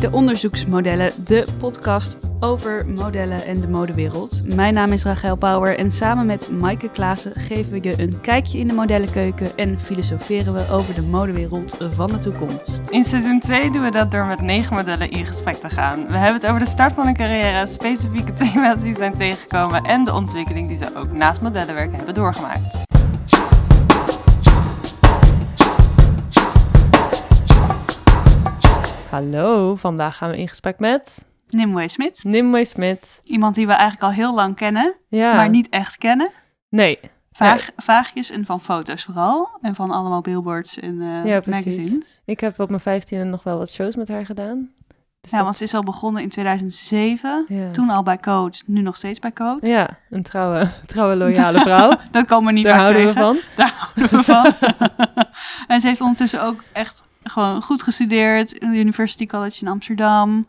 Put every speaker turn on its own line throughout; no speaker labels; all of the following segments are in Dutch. de Onderzoeksmodellen, de podcast over modellen en de modewereld. Mijn naam is Rachel Bauer en samen met Maaike Klaassen geven we je een kijkje in de modellenkeuken en filosoferen we over de modewereld van de toekomst.
In seizoen 2 doen we dat door met negen modellen in gesprek te gaan. We hebben het over de start van een carrière, specifieke thema's die zijn tegengekomen en de ontwikkeling die ze ook naast modellenwerk hebben doorgemaakt.
Hallo, vandaag gaan we in gesprek met
Nimue Smit,
Nimue Smit.
iemand die we eigenlijk al heel lang kennen,
Ja.
maar niet echt kennen.
Nee.
Vaag, Vaagjes en van foto's vooral en van allemaal billboards en eh,
Ja, precies.
magazines.
Ik heb op mijn vijftiende nog wel wat shows met haar gedaan. Dus
Ja,
dat-
want ze is al begonnen in 2007.
ja.
Toen al bij Coach, nu nog steeds bij Coach.
Ja, een trouwe, trouwe loyale vrouw.
Dat komen we niet
Daar
vaak
houden we
tegen.
van.
Daar houden we van. en ze heeft ondertussen ook echt gewoon goed gestudeerd. in de University College in Amsterdam.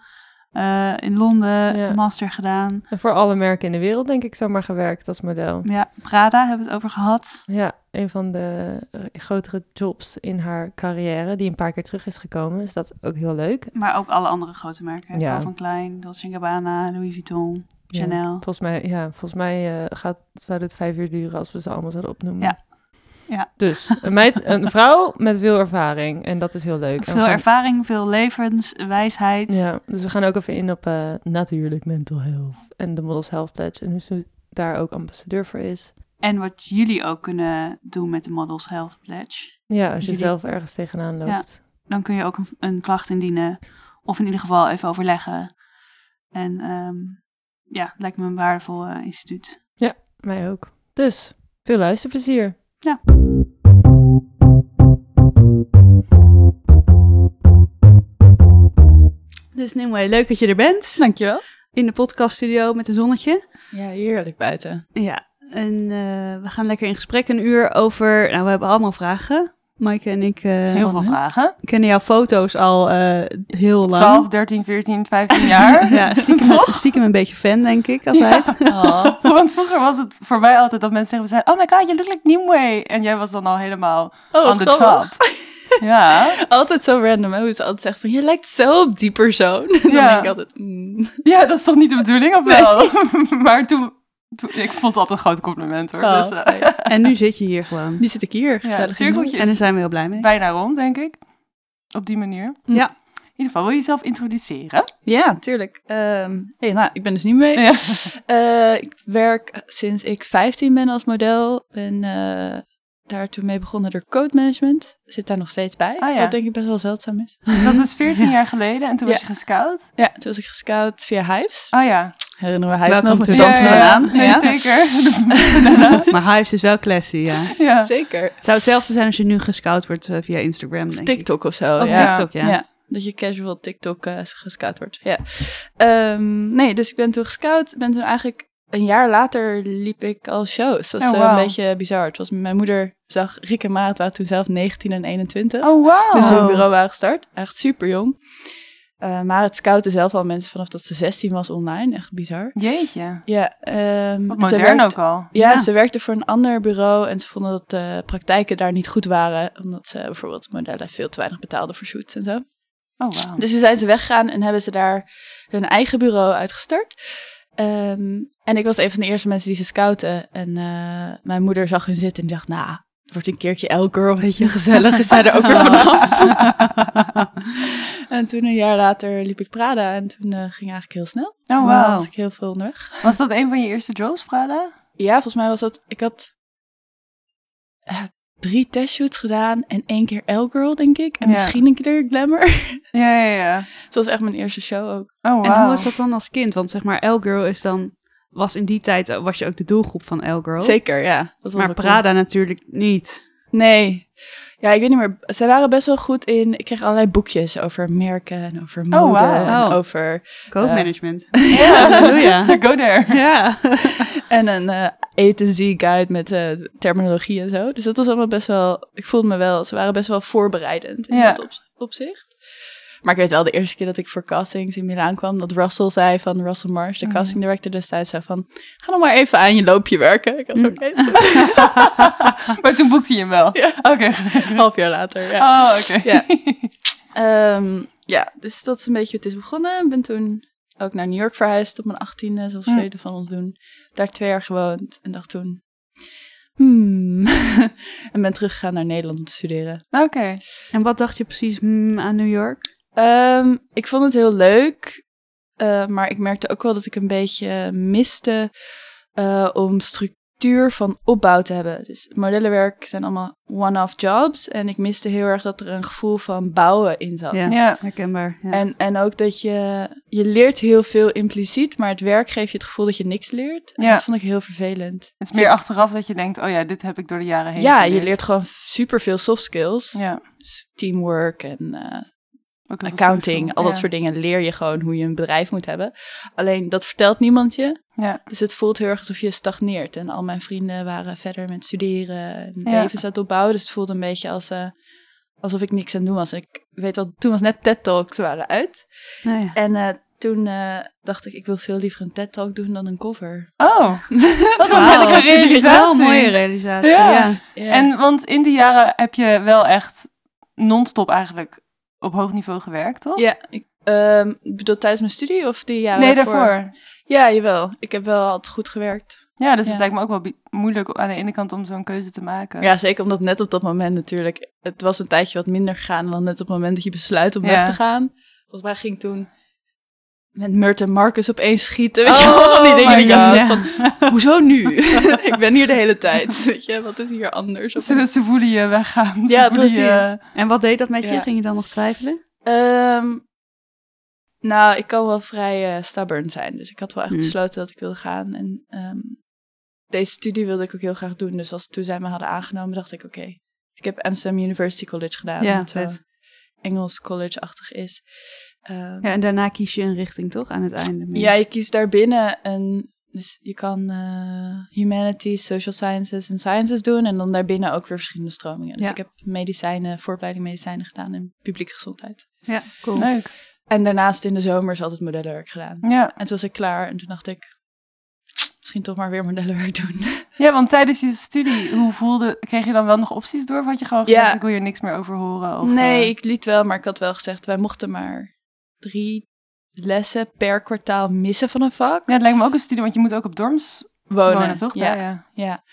eh, in Londen,
Ja.
master gedaan.
En voor alle merken in de wereld denk ik zomaar gewerkt als model.
Ja, Prada hebben we het over gehad.
Ja, een van de eh, grotere jobs in haar carrière die een paar keer terug is gekomen. Dus dat is ook heel leuk.
Maar ook alle andere grote merken.
Ja.
Paul van Klein, Dolce Gabbana, Louis Vuitton,
Ja.
Chanel.
Volgens mij, ja, volgens mij eh, gaat, zou dit vijf uur duren als we ze allemaal zouden opnoemen.
Ja. Ja.
Dus een, meid, een vrouw met veel ervaring en dat is heel leuk. En we
Veel
gaan-
ervaring, veel levenswijsheid.
Ja, dus we gaan ook even in op eh, natuurlijk mental health en de Models Health Pledge en hoe ze daar ook ambassadeur voor is.
En wat jullie ook kunnen doen met de Models Health Pledge.
Ja, als je
Jullie-
zelf ergens tegenaan loopt.
dan kun je ook een, een klacht indienen. Of in ieder geval even overleggen. En ehm, ja, het lijkt me een waardevol eh, instituut.
Mij ook. Dus, veel luisterplezier.
Ja. Dus Nimue, leuk dat je er bent.
Dankjewel.
In de podcaststudio met een zonnetje.
Ja, heerlijk buiten.
Ja, en eh, we gaan lekker in gesprek een uur over... Nou, we hebben allemaal vragen. Maaike en ik eh,
heel veel vragen.
kennen jouw foto's al eh, heel lang.
12, 13, 14, 15 jaar.
Ja, stiekem, stiekem een beetje fan, denk ik, altijd.
Oh.
Want vroeger was het voor mij altijd dat mensen tegen me zeiden... Oh my god, you look like Nimue. En jij was dan al helemaal on the
grappig.
top. Ja,
Altijd zo random, hè? Hoe ze altijd zeggen van, je lijkt zo op die persoon. En
Ja.
dan denk ik altijd, mm.
ja, dat is toch niet de bedoeling, of wel? maar toen, toen- Ik vond dat een groot compliment, hoor.
Oh,
Dus, eh,
nee.
En nu zit je hier gewoon.
Nu zit ik hier,
ja,
gezellig. in
cirkeltjes.
En daar zijn we heel blij mee.
Bijna rond, denk ik. Op die manier.
Ja.
In ieder geval, wil je jezelf introduceren?
Ja, tuurlijk. Ehm, hey, nou, ik ben dus niet mee.
Ja.
Eh, ik werk sinds ik 15 ben als model. Ben eh, daar toen mee begonnen door code management. Zit daar nog steeds bij.
Ah, ja.
Wat denk ik best wel zeldzaam is.
Dat is 14 jaar geleden en toen was je gescout.
Ja, toen was ik gescout via Hives.
Oh ja.
Herinneren we Hives
Welcome
nog? met
to
de
Dansen
dansende
met
maan.
Nee,
Ja.
zeker.
Maar huis is wel classy, ja. Het
ja.
Zeker.
zou hetzelfde zijn als je nu gescout wordt eh, via Instagram, denk ik.
TikTok of zo.
Of
ja.
TikTok, ja.
Ja. dat je casual TikTok eh, gescout wordt. Ja. Ehm, nee, dus ik ben toen gescout. Ben toen eigenlijk een jaar later liep ik al shows. Dat was
Oh,
eh,
wauw.
een beetje bizar. Het was, mijn moeder zag Rick en Maat waren toen zelf 19 en 21.
Oh, wow.
Toen ze
Oh.
hun bureau waren gestart. Echt super jong. Eh, maar het scoutte zelf al mensen vanaf dat ze 16 was online. Echt bizar.
Jeetje.
Ja, ehm,
Wat
en ze
modern
werkte-
ook al.
ja,
Ja.
ze werkte voor een ander bureau en ze vonden dat de praktijken daar niet goed waren. Omdat ze bijvoorbeeld modellen veel te weinig betaalden voor shoots en zo.
Oh, wow.
Dus toen zijn ze weggegaan en hebben ze daar hun eigen bureau uitgestart. Ehm, en ik was een van de eerste mensen die ze scouten. En eh, mijn moeder zag hun zitten en die dacht, nou, het wordt een keertje L-girl, weet je, gezellig. Is zij er ook weer vanaf. en toen een jaar later liep ik Prada en toen eh, ging eigenlijk heel snel.
Oh,
Toen
wow.
was ik heel veel onderweg.
Was dat een van je eerste jobs, Prada?
Ja, volgens mij was dat, ik had eh, drie testshoots gedaan en één keer L-girl, denk ik. En
Ja.
misschien een keer Glamour.
Ja, ja, ja.
Dus dat was echt mijn eerste show ook.
Oh, wow.
En hoe was dat dan als kind? Want zeg maar, L-Girl is dan... Was in die tijd eh, was je ook de doelgroep van L-Girl.
Oh.
Zeker, ja. Dat was
Maar
wel cool.
Prada natuurlijk niet.
Nee. Ja, ik weet niet meer. Ze waren best wel goed in... Ik kreeg allerlei boekjes over merken en over mode
wauw.
en
Oh.
over...
Code
Ja.
management.
Oh, Ja.
Halleluja.
Go there.
Ja.
En een eh A to Z guide met eh, terminologie en zo. Dus dat was allemaal best wel... Ik voelde me wel... Ze waren best wel voorbereidend in
Ja.
dat op, opzicht. Maar ik weet wel, de eerste keer dat ik voor castings in Milaan kwam... dat Russell zei van... Russell Marsh,
Oh,
de casting director destijds, zei van... Ga nog maar even aan je loopje werken. Ik was
Hm.
oké. is goed."
Maar toen boekte je hem wel. Oh,
Ja.
Oké.
Een half jaar later, ja.
Oh, oké.
Ja. Ehm, Ja, dus dat is een beetje hoe het is begonnen. Ik ben toen ook naar New York verhuisd op mijn achttiende, zoals
Ja.
velen van ons doen. Daar twee jaar gewoond en dacht toen, hmm. en ben teruggegaan naar Nederland om te studeren.
Oké.
En wat dacht je precies hmm, aan New York?
Ehm, ik vond het heel leuk, eh, maar ik merkte ook wel dat ik een beetje miste eh, om structuur van opbouw te hebben. Dus modellenwerk zijn allemaal one-off jobs en ik miste heel erg dat er een gevoel van bouwen in zat.
Ja,
Ja.
herkenbaar. Ja.
En, en ook dat je, je leert heel veel impliciet, maar het werk geeft je het gevoel dat je niks leert. En
Ja.
dat vond ik heel vervelend.
Het is meer achteraf dat je denkt, oh ja, dit heb ik door de jaren heen
ja, je
geleerd.
leert gewoon superveel soft skills.
Ja.
Dus teamwork en eh,
Ook heel veel
accounting,
social.
al dat
Ja.
soort dingen leer je gewoon hoe je een bedrijf moet hebben. Alleen dat vertelt niemand je.
Ja.
Dus het voelt heel erg alsof je stagneert. En al mijn vrienden waren verder met studeren en
Ja.
levens aan het opbouwen. Dus het voelde een beetje als, eh, alsof ik niks aan het doen was. En ik weet wel, toen was net TED Talks waren uit.
Nou ja.
En eh, toen eh, dacht ik, ik wil veel liever een TED-talk doen dan een cover.
Oh, wat een
Wauw.
heerlijke realisatie.
Wel een mooie realisatie.
Ja.
Ja.
En want in die jaren heb je wel echt non-stop eigenlijk op hoog niveau gewerkt, toch?
Ja, ik ehm, ik bedoel tijdens mijn studie of die jaren
Oh. nee,
daarvoor?
daarvoor.
Ja, jawel. Ik heb wel altijd goed gewerkt.
Ja, dus
Ja.
het lijkt me ook wel bi- moeilijk aan de ene kant om zo'n keuze te maken.
Ja, zeker omdat net op dat moment natuurlijk... Het was een tijdje wat minder gegaan dan net op het moment dat je besluit om
Ja.
weg te gaan. Volgens mij ging ik toen met Murt en Marcus opeens schieten. Weet je wel, van die dingen
Oh my
die je altijd
God.
van, hoezo nu? ik ben hier de hele tijd. Weet je, wat is hier anders? Of-
Ze, ze voelen je weggaan. Ze
Ja,
voelen je-
precies.
En wat deed dat met je?
Ja.
Ging je dan nog twijfelen?
Ehm, nou, ik kan wel vrij eh stubborn zijn. Dus ik had wel echt
Hmm.
besloten dat ik wilde gaan. En ehm, deze studie wilde ik ook heel graag doen. Dus als, toen zij me hadden aangenomen, dacht ik, oké. Ik heb Amsterdam University College gedaan.
Ja,
wat zo
vet.
Engels college-achtig is. Ehm,
Ja, en daarna kies je een richting, toch? Aan het einde. meer.
ja, je kiest daarbinnen een... Dus je kan eh, humanities, social sciences en sciences doen. En dan daarbinnen ook weer verschillende stromingen. Dus
Ja.
ik heb medicijnen, vooropleiding medicijnen gedaan en publieke gezondheid.
Ja, cool.
Leuk.
En daarnaast in de zomers altijd modellenwerk gedaan.
Ja.
En toen was ik klaar en toen dacht ik, misschien toch maar weer modellenwerk doen.
ja, want tijdens je studie, hoe voelde, kreeg je dan wel nog opties door? Of had je gewoon gezegd,
Ja.
ik wil hier niks meer over horen? Of,
nee,
eh,
ik liet wel, maar ik had wel gezegd, wij mochten maar drie lessen per kwartaal missen van een vak.
Ja, het lijkt me ook een studie, want je moet ook op dorms wonen,
Wonen,
toch?
Ja,
Daar, ja.
ja.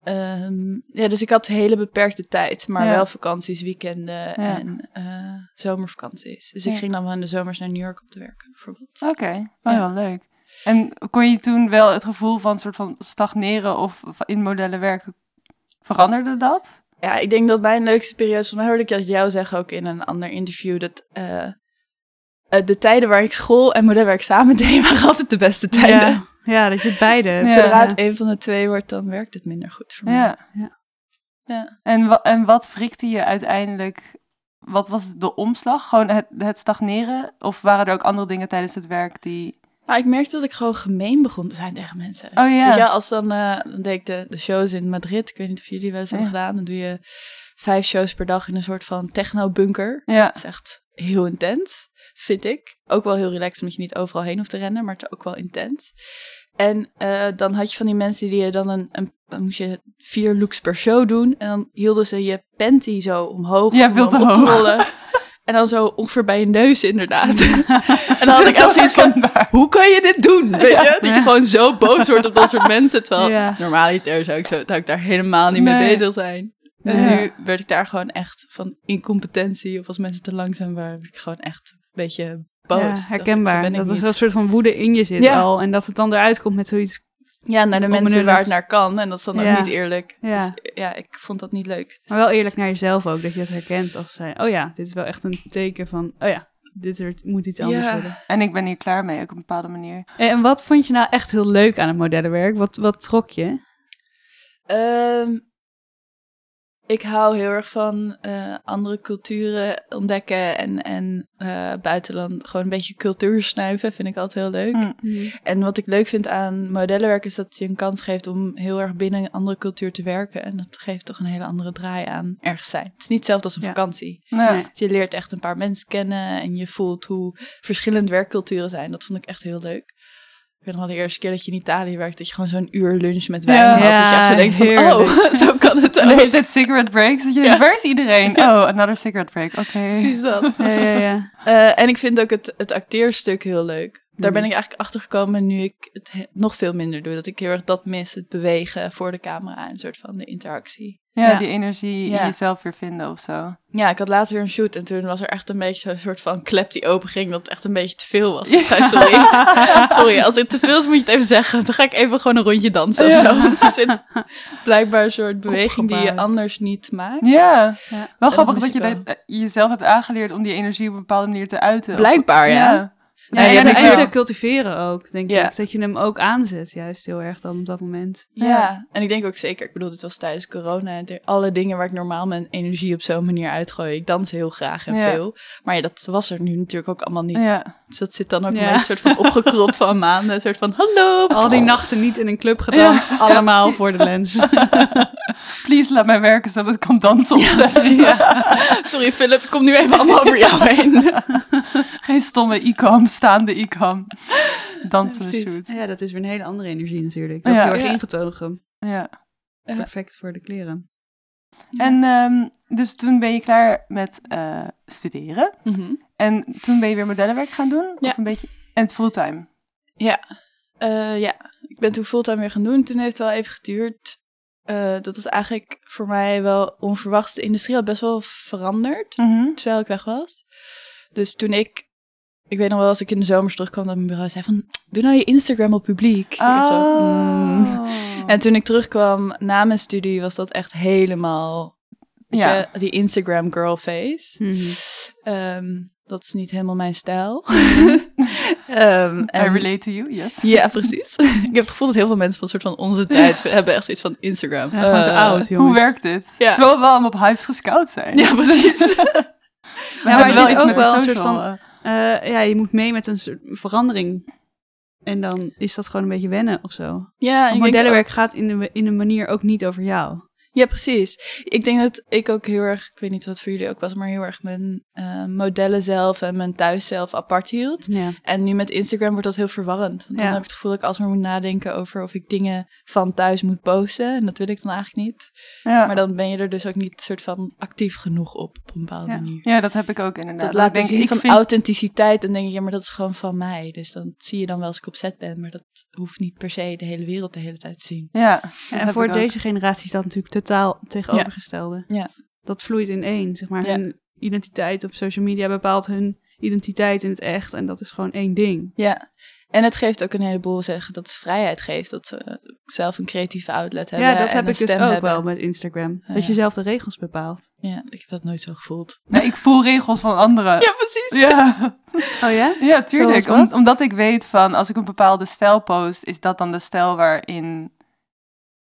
Ehm, ja, dus ik had hele beperkte tijd, maar
Ja.
wel vakanties, weekenden
Ja.
en eh, zomervakanties. Dus
Ja.
ik ging dan wel in de zomers naar New York om te werken, bijvoorbeeld.
Oké, oh,
Ja.
wel leuk. En eh, kon je toen wel het gevoel van soort van stagneren of van in modellen werken, veranderde dat?
Ja, ik denk dat mijn leukste periode, volgens mij hoorde ik dat jou zeggen ook in een ander interview, dat eh, eh, de tijden waar ik school en modelwerk samen deed, waren altijd de beste tijden.
Ja. ja, dat je beide.
Ja.
Zodra
ja.
het een van de twee wordt, dan werkt het minder goed voor mij.
Ja.
Ja.
En, wa- en wat wrikte je uiteindelijk? Wat was de omslag? Gewoon het, het stagneren? Of waren er ook andere dingen tijdens het werk die...
Maar ik merkte dat ik gewoon gemeen begon te zijn tegen mensen.
Oh ja,
Weet je, wel, als dan, eh, dan deed ik de, de shows in Madrid, ik weet niet of jullie wel eens hebben
Ja.
gedaan, dan doe je vijf shows per dag in een soort van techno-bunker.
ja.
Het is echt heel intens, vind ik. Ook wel heel relaxed, omdat je niet overal heen hoeft te rennen, maar het is ook wel intens. En eh, dan had je van die mensen die je dan een, een, dan moest je vier looks per show doen. En dan hielden ze je panty zo omhoog.
Ja,
om
veel te
hem op
hoog.
rollen. En dan zo ongeveer bij je neus inderdaad. en dan had ik
Zo
echt zoiets van,
herkenbaar.
hoe kan je dit doen? Weet je? Dat je gewoon zo boos wordt op dat soort mensen. Terwijl
Ja.
normaliter zou ik, zo, zou ik daar helemaal niet mee
Nee.
bezig zijn. En
Ja.
nu werd ik daar gewoon echt van incompetentie of als mensen te langzaam waren, werd ik gewoon echt een beetje boos.
Ja,
Dacht ik, zo
herkenbaar.
ben ik
dat er
niet.
zo'n soort van woede in je zit
Ja.
al. En dat het dan eruit komt met zoiets.
Ja, naar de
Op
mensen
mijn
waar het
lucht.
naar kan. En dat is dan
Ja.
ook niet eerlijk.
Ja.
Dus ja, ik vond dat niet leuk. Dus-
Maar wel eerlijk naar jezelf ook. Dat je het herkent als zijn. Oh ja, dit is wel echt een teken van. Oh ja, dit er, moet iets anders
Ja.
worden.
En ik ben hier klaar mee, ook op een bepaalde manier.
En, en wat vond je nou echt heel leuk aan het modellenwerk? Wat, wat trok je?
Ehm, ik hou heel erg van eh, andere culturen ontdekken en, en eh, buitenland gewoon een beetje cultuur snuiven. Vind ik altijd heel leuk.
Hm.
En wat ik leuk vind aan modellenwerk is dat je een kans geeft om heel erg binnen een andere cultuur te werken. En dat geeft toch een hele andere draai aan ergens zijn. Het is niet hetzelfde als een
Ja.
vakantie.
Nou,
Nee.
Dus je leert echt een paar mensen kennen en je voelt hoe verschillende werkculturen zijn. Dat vond ik echt heel leuk. weet nog wel de eerste keer dat je in Italië werkt, dat je gewoon zo'n uur lunch met wijn had.
Ja,
dat je echt zo denkt van,
heerlijk.
oh, zo kan het
Dan
ook.
heet dit cigarette breaks. Dat je, Waar is iedereen? Oh, another cigarette break. Oké.
Precies dat.
Ja, ja, ja.
Eh, en ik vind ook het, het acteerstuk heel leuk. Daar ben ik eigenlijk achter gekomen nu ik het he- nog veel minder doe. Dat ik heel erg dat mis, het bewegen voor de camera en een soort van de interactie.
Ja,
Ja.
die energie
Ja.
in jezelf weer vinden of zo.
Ja, ik had laatst weer een shoot en toen was er echt een beetje zo'n soort van klep die open ging. Dat het echt een beetje te veel was. Ik zei, sorry, sorry, als het te veel is moet je het even zeggen. Dan ga ik even gewoon een rondje dansen of zo. Want er zit blijkbaar een soort beweging die je
Opgebouwd.
anders niet maakt.
Ja,
Ja.
wel
dat
grappig
mis
dat je
ik wel.
dat, eh, jezelf hebt aangeleerd om die energie op een bepaalde manier te uiten. Of-
Blijkbaar, ja.
Ja,
Ja, je
en,
hebt
en
natuurlijk-
te cultiveren ook, denk
Ja.
ik. Dat je hem ook aanzet, juist heel erg dan op dat moment.
Ja.
Ja.
en ik denk ook zeker, ik bedoel, dit was tijdens corona. en de- Alle dingen waar ik normaal mijn energie op zo'n manier uitgooi. Ik dans heel graag en
Ja.
veel. Maar ja, dat was er nu natuurlijk ook allemaal niet.
Ja.
Dus dat zit dan ook
Ja.
een beetje een soort van opgekropt van maanden. Een soort van, hallo.
Al die nachten niet in een club gedanst, allemaal voor de lens.
Please, laat mij werken zodat ik kan dansen op sessies.
Sorry Philip, het komt nu even allemaal over jou heen.
Geen stomme icam, staande icam. Dansen we
Ja, precies.
shoot.
Ja, dat is weer een hele andere energie natuurlijk. Dat is
Ja.
heel erg
Ja.
ingetogen.
Ja.
Perfect voor de kleren.
En ehm, dus toen ben je klaar met eh, studeren.
Mhm.
En toen ben je weer modellenwerk gaan doen.
Ja.
Of een beetje... En fulltime.
Eh, ja, ik ben toen fulltime weer gaan doen. Toen heeft het wel even geduurd. Eh, dat was eigenlijk voor mij wel onverwachts. De industrie had best wel veranderd.
Mhm.
terwijl ik weg was. Dus toen ik, ik weet nog wel, als ik in de zomers terugkwam, dat mijn bureau zei van, doe nou je Instagram op publiek. Ik zo, "Mm."
Oh.
En toen ik terugkwam na mijn studie, was dat echt helemaal, weet
Ja.
je, die Instagram girl face.
Mhm.
Ehm, dat is niet helemaal mijn stijl. Ehm,
I
en-
relate to you, yes.
ja, precies. ik heb het gevoel dat heel veel mensen van een soort van onze tijd hebben echt zoiets van Instagram.
Ja, gewoon te
Eh,
oud, jongens.
Hoe werkt dit?
Ja.
Terwijl we wel allemaal op hypes gescout zijn.
Ja, precies.
We
Ja,
hebben
maar het is
iets
ook
met
wel een
social,
soort van...
eh,
eh, ja, je moet mee met een soort verandering. En dan is dat gewoon een beetje wennen of zo.
ja,
Want
ik denk
modellenwerk gaat in de, in de manier ook niet over jou.
Ja, precies. Ik denk dat ik ook heel erg, ik weet niet wat voor jullie ook was, maar heel erg mijn eh, modellen zelf en mijn thuis zelf apart hield.
Ja.
En nu met Instagram wordt dat heel verwarrend. Want dan
Ja.
heb ik het gevoel dat ik alsmaar moet nadenken over of ik dingen van thuis moet posten. En dat wil ik dan eigenlijk niet.
ja.
Maar dan ben je er dus ook niet soort van actief genoeg op, op een bepaalde
Ja.
manier.
ja, dat heb ik ook inderdaad.
Dat laat dus
denk,
zien
ik
van
vind-
authenticiteit. En denk je, ja, maar dat is gewoon van mij. Dus dan zie je dan wel als ik op set ben. Maar dat hoeft niet per se de hele wereld de hele tijd te zien.
Ja, dat
En
heb
voor
ik ook.
deze generatie is dat natuurlijk totaal tegenovergestelde.
Ja.
Dat vloeit in één, zeg maar.
Ja.
Hun identiteit op social media bepaalt hun identiteit in het echt. En dat is gewoon één ding.
Ja, en het geeft ook een heleboel zeggen dat het vrijheid geeft. Dat ze eh, zelf een creatieve outlet hebben.
Ja, dat
en
heb
een
ik dus ook
stem hebben.
wel met Instagram.
Ah,
dat je
ja.
zelf de regels bepaalt.
Ja, ik heb dat nooit zo gevoeld.
Nee, ik voel regels van anderen.
Ja, precies.
Ja,
Oh ja?
ja tuurlijk.
Zoals wat?
Om- omdat ik weet van als ik een bepaalde stijl post, is dat dan de stijl waarin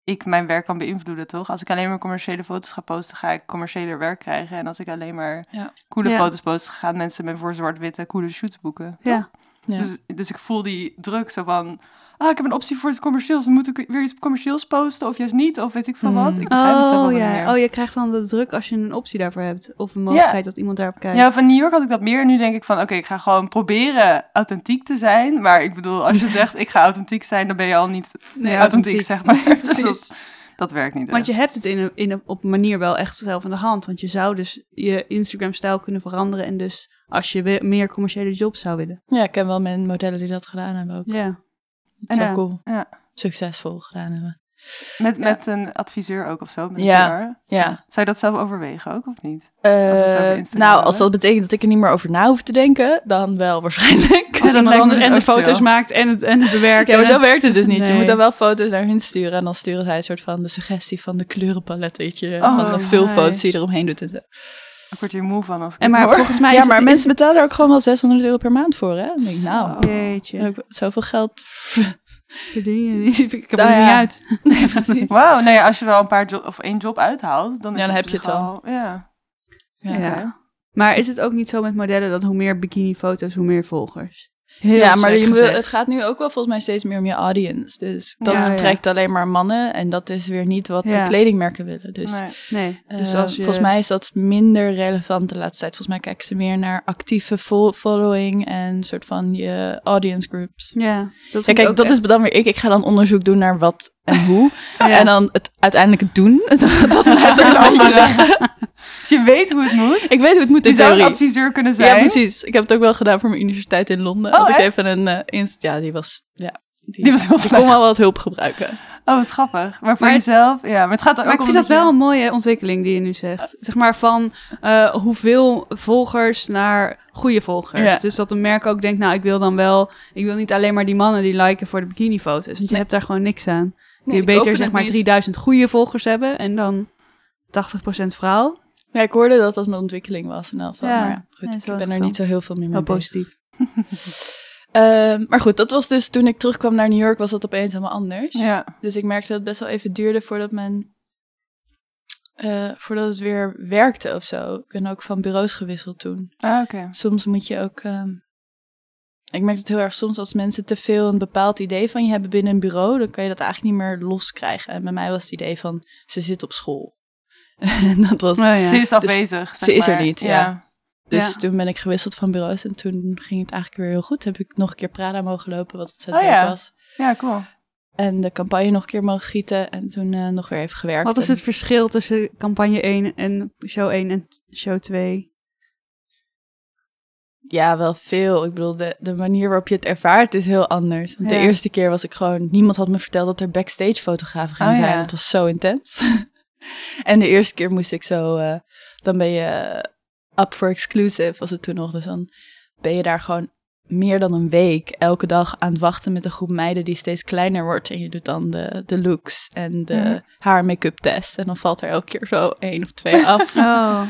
ik mijn werk kan beïnvloeden, toch? Als ik alleen maar commerciële foto's ga posten, ga ik commerciëler werk krijgen. En als ik alleen maar
Ja.
coole
Ja.
foto's post, gaan mensen me voor zwart-witte coole shoots boeken. toch?
Ja.
Ja.
Dus, dus ik voel die druk zo van, ah, ik heb een optie voor iets commercieels, dan moet ik weer iets commercieels posten of juist niet, of weet ik veel wat.
Mm.
Ik begrijp het zo
Oh
wel
ja.
meer.
Oh, je krijgt dan de druk als je een optie daarvoor hebt. Of een mogelijkheid dat iemand daarop kijkt.
Ja, van New York had ik dat meer. Nu denk ik van, oké, ik ga gewoon proberen authentiek te zijn. Maar ik bedoel, als je zegt, ik ga authentiek zijn, dan ben je al niet eh,
Nee,
authentiek, zeg maar. Dus
Precies.
dat, dat werkt niet. dus.
Want
echt.
je hebt het in een, in een- op een manier wel echt zelf in de hand. Want je zou dus je Instagram-stijl kunnen veranderen. En dus als je we- meer commerciële jobs zou willen.
ja, ik ken wel mijn modellen die dat gedaan hebben ook.
Ja.
Dat is wel
Ja.
cool.
Ja.
Succesvol gedaan hebben.
met, met een adviseur ook of zo. Met
Ja.
ja.
Ja.
Zou je dat zelf overwegen ook, of niet? we het over
Eh,
Instagram
nou,
hebben.
als dat betekent dat ik er niet meer over na hoef te denken, dan wel waarschijnlijk.
Als
dat lijkt
iemand
me
anders
dus
en de
ook
foto's
chill.
maakt en het, en het bewerkt.
Ja, maar
en
zo werkt het dus niet. Je
Nee.
moet dan wel foto's naar hun sturen en dan sturen zij een soort van de suggestie van de kleurenpaletje.
Oh,
van de veel
hi.
foto's die je eromheen doet en zo.
Ik word hier moe van als ik
En
dit
maar
hoor.
volgens mij
Ja,
is
maar
het-
mensen betalen er ook gewoon wel 600 euro per maand voor, hè? Dan denk ik, nou,
Oh, Jeetje,
heb ik zoveel geld.
verdien je niet. Ik heb
Nou
er niet
ja.
uit.
Nee, precies.
Wauw, nou ja, als je er al een paar job, of één job uithaalt, dan, is
Ja, dan
op
heb je
zich
het al.
Ja.
Ja. Maar is het ook niet zo met modellen dat hoe meer bikini-foto's, hoe meer volgers? Heel
ja, maar
slecht
je moet-
gezegd.
het gaat nu ook wel volgens mij steeds meer om je audience. Dus dat
Ja, ja.
trekt alleen maar mannen. En dat is weer niet wat
Ja.
de kledingmerken willen. Dus,
Nee.
Nee, dus
eh,
als je...
volgens mij is dat minder relevant de laatste tijd. Volgens mij kijken ze meer naar actieve fol- following en soort van je audience groups.
Ja, dat,
Ja,
vind ik
kijk,
ook
dat
echt-
is dan weer ik. Ik ga dan onderzoek doen naar wat en hoe.
Ja.
En dan het uiteindelijk doen. dat blijft er dan
Ja. Dus je weet hoe het moet.
Ik weet hoe het moet
Je
in
zou een
theorie.
adviseur kunnen zijn.
Ja, precies. Ik heb het ook wel gedaan voor mijn universiteit in Londen.
Oh,
had ik
echt?
even een eh, inst- Ja, die was. Ja,
Die was heel
Ik
slecht.
kon wel wat hulp gebruiken.
Oh, wat grappig. Maar voor
Maar-
jezelf, ja. Maar het gaat er ook
Maar ik
om
vind dat
je-
wel een mooie ontwikkeling die je nu zegt. Zeg maar van eh, hoeveel volgers naar goede volgers.
Ja.
Dus dat een merk ook denkt, nou ik wil dan wel... Ik wil niet alleen maar die mannen die liken voor de bikinifoto's. Want je
Nee.
hebt daar gewoon niks aan.
Nee, ik
je
open
beter zeg
het
maar
niet.
3000 goede volgers hebben en dan 80% vrouw.
Ja, ik hoorde dat dat een ontwikkeling was. In elk geval.
Ja.
Maar ja,
Nee,
goed,
dat is wel
ik ben er
interessant.
niet zo heel veel meer mee
Wel
bezig.
positief.
Ehm, maar goed, dat was dus toen ik terugkwam naar New York, was dat opeens helemaal anders.
Ja.
Dus ik merkte dat het best wel even duurde voordat men. eh, voordat het weer werkte of zo. Ik ben ook van bureaus gewisseld toen.
Ah, oké.
soms moet je ook. ehm, ik merk het heel erg soms als mensen te veel een bepaald idee van je hebben binnen een bureau, dan kan je dat eigenlijk niet meer loskrijgen. En bij mij was het idee van ze zit op school. en dat was. dus
Oh, ja.
Ze is afwezig. zeg
ze is er
maar.
niet, ja. Dus toen ben ik gewisseld van bureaus en toen ging het eigenlijk weer heel goed. Heb ik nog een keer Prada mogen lopen, wat ontzettend
Oh,
leuk
ja.
was.
Ja, cool.
En de campagne nog een keer mogen schieten en toen eh, nog weer even gewerkt.
Wat is
En-
het verschil tussen campagne 1 en show 1 en show 2?
Ja, wel veel. Ik bedoel, de, de manier waarop je het ervaart is heel anders. Want
Ja.
de eerste keer was ik gewoon... Niemand had me verteld dat er backstage fotografen gingen
Oh,
zijn.
ja.
Dat was zo intens. en de eerste keer moest ik zo... eh, dan ben je eh, up for exclusive, was het toen nog. Dus dan ben je daar gewoon meer dan een week elke dag aan het wachten met een groep meiden die steeds kleiner wordt. En je doet dan de, de looks en de
Mhm.
haar make-up test. En dan valt er elke keer zo één of twee af.
Oh,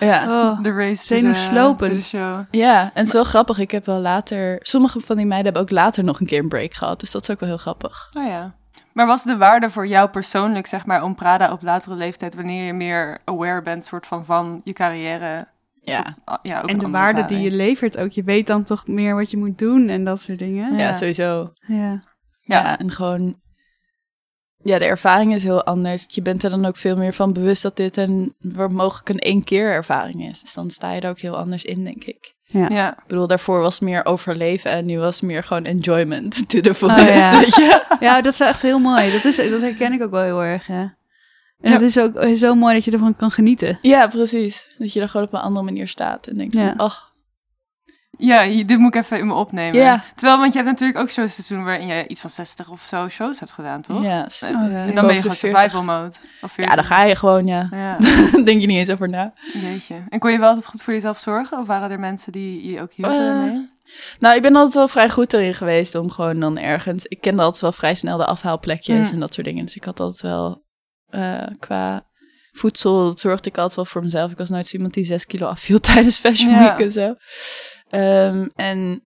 ja.
oh.
De race to
Zenuwslopend.
to the show.
Ja, en het is wel grappig. Ik heb wel later... Sommige van die meiden hebben ook later nog een keer een break gehad. Dus dat is ook wel heel grappig.
Oh ja. Maar was de waarde voor jou persoonlijk, zeg maar, om Prada op latere leeftijd, wanneer je meer aware bent, soort van, van je carrière?
Ja,
Ah, Ja, ook
En
een
de
andere
waarde die je
ervaring.
levert ook. Je weet dan toch meer wat je moet doen en dat soort dingen.
ja.
Ja.
sowieso.
Ja.
Ja.
Ja.
en gewoon... Ja, de ervaring is heel anders. Je bent er dan ook veel meer van bewust dat dit een... waar mogelijk een één keer ervaring is. Dus dan sta je er ook heel anders in, denk ik.
Ja.
Ik bedoel, daarvoor was het meer overleven en nu was het meer gewoon enjoyment to the fullest,
ja.
weet je?
ja, dat is wel echt heel mooi. Dat, is, dat herken ik ook wel heel erg. Hè. En
Ja.
het is ook zo mooi dat je ervan kan genieten.
Ja, precies. Dat je er gewoon op een andere manier staat en denkt
Ja.
van, ach,
Ja, je- dit moet ik even in me opnemen.
Ja.
Terwijl, want je hebt natuurlijk ook zo'n seizoen waarin je iets van 60 of zo shows hebt gedaan, toch?
ja.
En dan
Boven
ben
de
je gewoon
40.
survival mode. Of 40.
Ja, dan ga je gewoon, ja.
Ja,
Denk je niet eens over na.
jeetje. En kon je wel altijd goed voor jezelf zorgen? Of waren er mensen die je ook hielpen?
Eh,
mee?
Nou, ik ben altijd wel vrij goed erin geweest om gewoon dan ergens. Ik kende altijd wel vrij snel de afhaalplekjes
Mm.
en dat soort dingen. Dus ik had altijd wel eh, qua voedsel zorgde ik altijd wel voor mezelf. Ik was nooit zo iemand die zes kilo afviel tijdens Fashion
Ja.
Week of zo. Ehm, en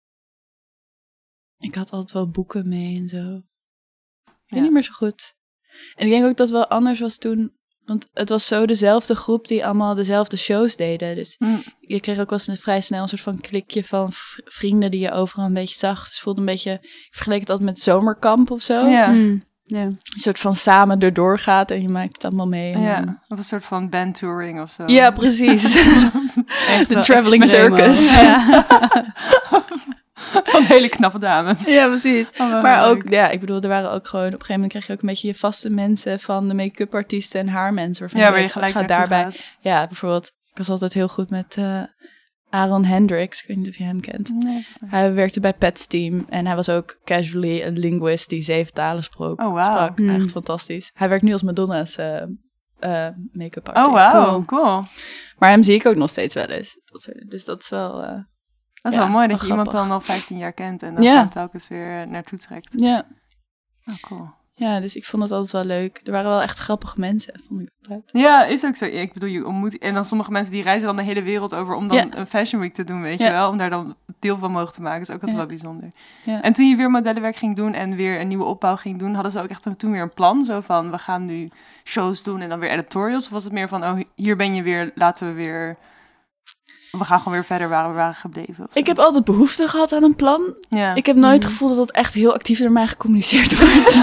ik had altijd wel boeken mee en zo. Ik
Ja.
weet niet meer zo goed. En ik denk ook dat het wel anders was toen. Want het was zo dezelfde groep die allemaal dezelfde shows deden. Dus
Hm.
je kreeg ook wel eens een vrij snel een soort van klikje van v- vrienden die je overal een beetje zag. Dus het voelde een beetje, ik vergeleek het altijd met zomerkamp of zo.
Ja.
Mm, ja.
Een soort van samen erdoor gaat en je maakt het allemaal mee. en dan- eh,
Ja, of een soort van bandtouring of zo.
ja precies.
Echt
De
wel
traveling
extreem
circus.
ook. Ja.
Van hele knappe dames.
ja, precies.
Oh, wat
Maar
leuk.
ook, ja, ik bedoel, er waren ook gewoon, op een gegeven moment kreeg je ook een beetje je vaste mensen van de make-up artiesten en haarmensen. Waarvan
Ja,
je
waar je
weet,
gelijk
ga
naartoe
daarbij.
gaat.
Ja, bijvoorbeeld, ik was altijd heel goed met eh, Aaron Hendricks. Ik weet niet of je hem kent.
Nee.
Hij werkte bij Pat's team en hij was ook casually een linguist die zeven talen sprak.
Oh, wauw.
sprak.
Hmm.
Echt fantastisch. Hij werkt nu als Madonna's eh, eh, make-up artist.
Oh, wauw,
Cool.
cool.
Maar hem zie ik ook nog steeds wel eens. Dat soort- Dus dat is wel... eh,
Dat is
Ja,
wel mooi dat je
wel
iemand
grappig.
dan al 15 jaar kent en dan
Ja.
gewoon telkens weer eh, naartoe trekt.
ja.
Oh, cool.
ja, dus ik vond het altijd wel leuk. Er waren wel echt grappige mensen, vond ik altijd.
Ja, is ook zo. Ja, Ik bedoel, je ontmoet... En dan sommige mensen die reizen dan de hele wereld over om dan
Ja.
een fashion week te doen, weet je
Ja.
wel? Om daar dan deel van mogen te maken. is ook altijd
Ja.
wel bijzonder.
Ja.
En toen je weer modellenwerk ging doen en weer een nieuwe opbouw ging doen, hadden ze ook echt een- toen weer een plan? Zo van, we gaan nu shows doen en dan weer editorials? Of was het meer van, oh, hier ben je weer, laten we weer... we gaan gewoon weer verder waar we waren gebleven. of
Ik
zo.
heb altijd behoefte gehad aan een plan.
ja.
Ik heb nooit het gevoel dat dat echt heel actief door mij gecommuniceerd wordt.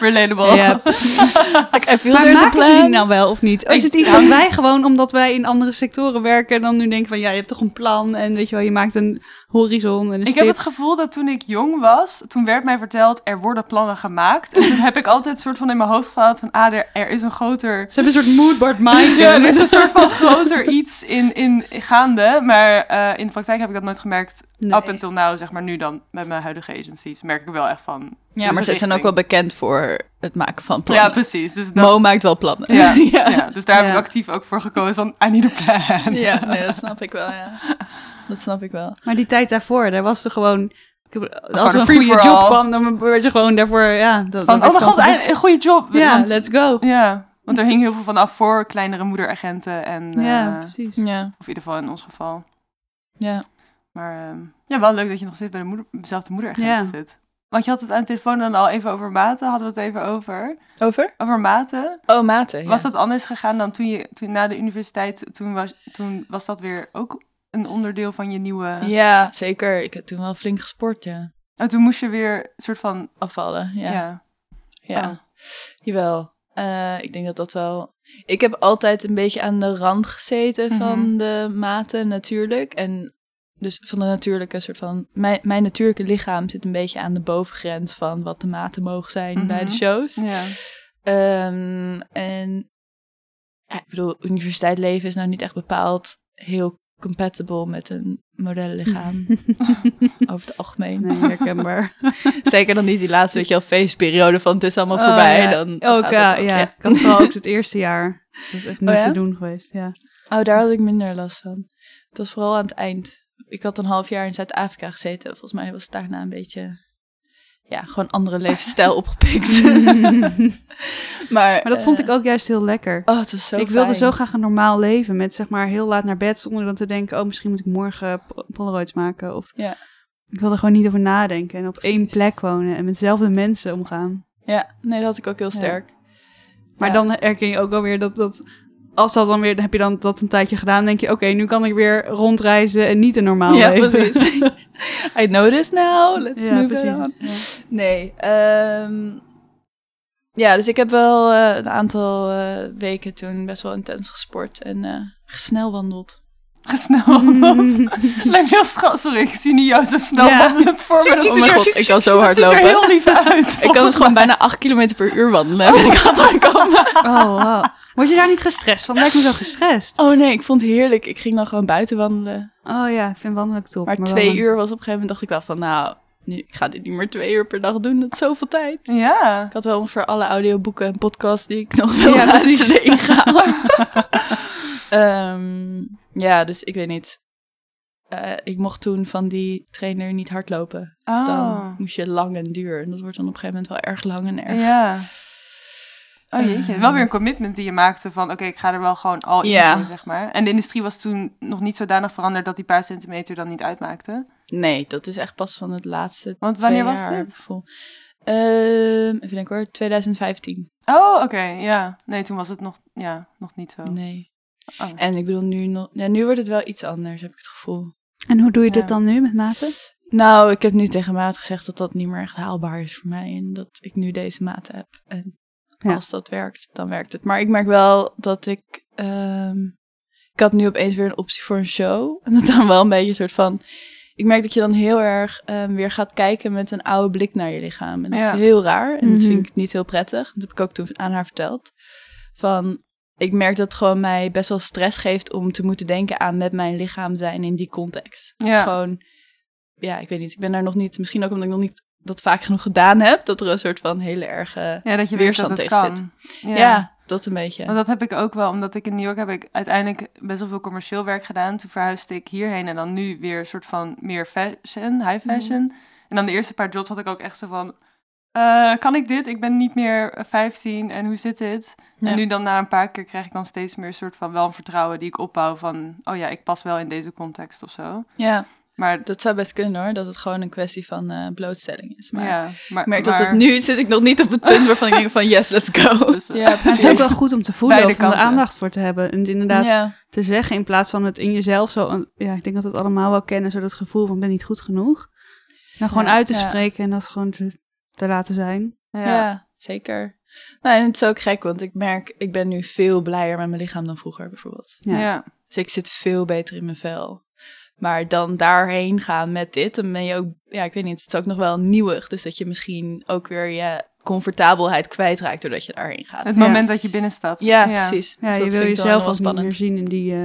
relatable.
Ja.
Like, I feel
Maar
there's a
maken ze die
plan.
nou wel of niet? Of is het iets dat wij gewoon, omdat wij in andere sectoren werken, dan nu denken van ja, je hebt toch een plan en weet je wel, je maakt een horizon en is
Ik heb
dit-
het gevoel dat toen ik jong was, toen werd mij verteld, er worden plannen gemaakt. En toen heb ik altijd soort van in mijn hoofd gehaald van, ah, er, er is een groter...
Ze hebben een soort moodboard mind.
Ja, er is een soort van groter iets in, in gaande. Maar eh, in de praktijk heb ik dat nooit gemerkt.
Nee.
Up until now, zeg maar nu dan, met mijn huidige agencies, merk ik wel echt van...
Ja, maar
Dus
ze zijn ook
richting.
wel bekend voor het maken van
Ja,
plannen.
precies. Dus, dat,
Mo maakt wel plannen.
ja, ja.
ja.
dus daar heb
Ja.
ik actief ook voor gekozen van, I need a plan.
Ja, nee, dat snap ik wel, ja. Dat snap ik wel.
Maar die tijd daarvoor, daar was er gewoon... ik heb-
gewoon
Als er
een
een
free
goede job
for all.
kwam, dan werd je gewoon daarvoor... Ja, dat,
Van,
dat
oh
is
mijn
dan
god,
gelukt.
een goede job.
Ja,
want,
let's go.
ja, want er hing heel veel van af voor kleinere moederagenten. En,
Ja,
eh,
precies.
Ja,
of in ieder geval in ons geval.
ja.
Maar ehm, ja, wel leuk dat je nog steeds bij de moeder, dezelfde moederagent
Ja.
zit. Want je had het aan de telefoon dan al even over maten, hadden we het even over.
Over?
Over maten.
Oh, maten. ja.
Was dat anders gegaan dan toen je toen, na de universiteit, toen was, toen was dat weer ook een onderdeel van je nieuwe...
Ja, zeker. Ik heb toen wel flink gesport, ja.
Oh, toen moest je weer een soort van...
Afvallen,
Ja.
ja. Ja,
Oh.
jawel. Eh, ik denk dat dat wel... Ik heb altijd een beetje aan de rand gezeten
Mhm.
van de maten, natuurlijk. En dus van de natuurlijke soort van... Mijn, mijn natuurlijke lichaam zit een beetje aan de bovengrens van wat de maten mogen zijn bij de
Mhm.
shows.
ja.
Ehm, en ja, ik bedoel, universiteit leven is nou niet echt bepaald heel compatible met een modellenlichaam over het algemeen.
Nee, herkenbaar.
Zeker dan niet die laatste, weet je wel, feestperiode van het is allemaal
Oh,
voorbij.
ja.
Dan
Ook,
gaat
ja,
dat ook,
ja. Ik had vooral ook het eerste jaar. Dat is echt niet
Oh ja?
te doen geweest, ja.
Oh, daar had ik minder last van. Het was vooral aan het eind. Ik had een half jaar in Zuid-Afrika gezeten. Volgens mij was het daarna een beetje... Ja, gewoon andere levensstijl opgepikt. maar,
Maar dat vond ik ook juist heel lekker.
Oh, het was Eh, zo
ik wilde
fijn.
zo graag een normaal leven met zeg maar heel laat naar bed zonder dan te denken, oh misschien moet ik morgen po- polaroids maken of
Ja.
ik wilde gewoon niet over nadenken en op één plek wonen en met dezelfde mensen omgaan.
Ja, nee, dat had ik ook heel sterk.
Maar
Ja.
dan herken je ook alweer dat dat als dat dan weer heb je dan dat een tijdje gedaan, denk je oké nu kan ik weer rondreizen en niet een normaal
ja,
leven.
precies. I know this now. Let's
Ja,
move
precies.
it on. Nee. ehm, ja, dus ik heb wel eh, een aantal eh, weken toen best wel intens gesport en eh gesnelwandeld. Mm.
Gesneld.
Mm.
Lijkt me heel schattig. Sorry, ik zie niet jou zo snel
Ja.
wandelend voor me. Dat
Oh mijn god, ik kan zo hard
ziet er
lopen.
heel lief uit.
Ik kan dus gewoon bijna 8 km per uur wandelen. En ik had er komen.
Oh wow. Word je daar niet gestrest van? Lijkt me zo gestrest.
Oh nee, ik vond het heerlijk. Ik ging dan gewoon buiten wandelen.
Oh ja, ik vind wandelen ook top.
Maar
wel
twee
een-
uur was op een gegeven moment dacht ik wel van nou, nu, ik ga dit niet meer twee uur per dag doen. Dat is zoveel tijd.
Ja.
Ik had wel ongeveer alle audioboeken en podcasts die ik nog wil
Ja,
luisteren ingehaald. Ehm, ja, dus ik weet niet. Eh, ik mocht toen van die trainer niet hardlopen. Dus dan
Oh.
moest je lang en duur. En dat wordt dan op een gegeven moment wel erg lang en erg...
Ja. Oh
Eh.
jeetje, wel weer een commitment die je maakte van oké, ik ga er wel gewoon al in
Ja.
voor, zeg maar. En de industrie was toen nog niet zodanig veranderd dat die paar centimeter dan niet uitmaakte.
Nee, dat is echt pas van het laatste
Want wanneer
twee
was
jaar,
dit?
heb ik het gevoel. Ehm, even denken hoor, 2015.
Oh, oké, ja. Nee, toen was het nog, ja, nog niet zo.
Nee.
Oh.
En ik bedoel, nu, nog, ja, nu wordt het wel iets anders, heb ik het gevoel.
En hoe doe je
Ja.
dit dan nu met maten?
Nou, ik heb nu tegen Maat gezegd dat dat niet meer echt haalbaar is voor mij. En dat ik nu deze maat heb. En
Ja.
als dat werkt, dan werkt het. Maar ik merk wel dat ik... ehm, ik had nu opeens weer een optie voor een show. En dat dan wel een beetje een soort van... Ik merk dat je dan heel erg ehm, weer gaat kijken met een oude blik naar je lichaam. En dat
Ja.
is heel raar. En dat
Mhm.
vind ik niet heel prettig. Dat heb ik ook toen aan haar verteld. Van, ik merk dat het gewoon mij best wel stress geeft om te moeten denken aan met mijn lichaam zijn in die context.
Ja.
Het is gewoon, ja, ik weet niet. Ik ben daar nog niet, misschien ook omdat ik nog niet dat vaak genoeg gedaan heb, dat er een soort van hele erge,
Ja, dat je
Weerstand
weet dat
tegen
het kan.
ja, dat een beetje.
Want dat heb ik ook wel, omdat ik in New York heb ik uiteindelijk best wel veel commercieel werk gedaan. Toen verhuisde ik hierheen en dan nu weer een soort van meer fashion, high fashion. En dan de eerste paar jobs had ik ook echt zo van, eh, kan ik dit? Ik ben niet meer eh, 15 en hoe zit dit?
Ja.
En nu dan na een paar keer krijg ik dan steeds meer een soort van wel een vertrouwen die ik opbouw van, oh ja, ik pas wel in deze context of zo.
Ja,
Maar,
Dat zou best kunnen hoor, dat het gewoon een kwestie van eh, blootstelling is. Maar
ja, maar
ik merk dat
maar-
het nu zit ik nog niet op het punt waarvan ik denk van yes, let's go.
Dus, eh,
Ja,
Het
precies.
is ook wel goed om te voelen of
Beide
om er
kanten.
aandacht voor te hebben. En inderdaad
Ja.
te zeggen in plaats van het in jezelf zo... een- Ja, ik denk dat we het allemaal wel kennen, zo dat gevoel van ben niet goed genoeg. Nou, gewoon
Ja,
uit te
ja.
spreken en dat gewoon te, te laten zijn.
Ja.
ja.
zeker. Nou, en het is ook gek, want ik merk, ik ben nu veel blijer met mijn lichaam dan vroeger bijvoorbeeld.
Ja.
ja.
Dus ik zit veel beter in mijn vel. Maar dan daarheen gaan met dit, dan ben je ook, ja, ik weet niet, het is ook nog wel nieuwig. Dus dat je misschien ook weer je comfortabelheid kwijtraakt doordat je daarheen gaat.
Het
Ja.
moment dat je binnenstapt.
Ja, precies.
Ja,
Dus
je
dat
wil
vind ik dan
jezelf
wel
als niet meer
spannend.
zien in die, eh,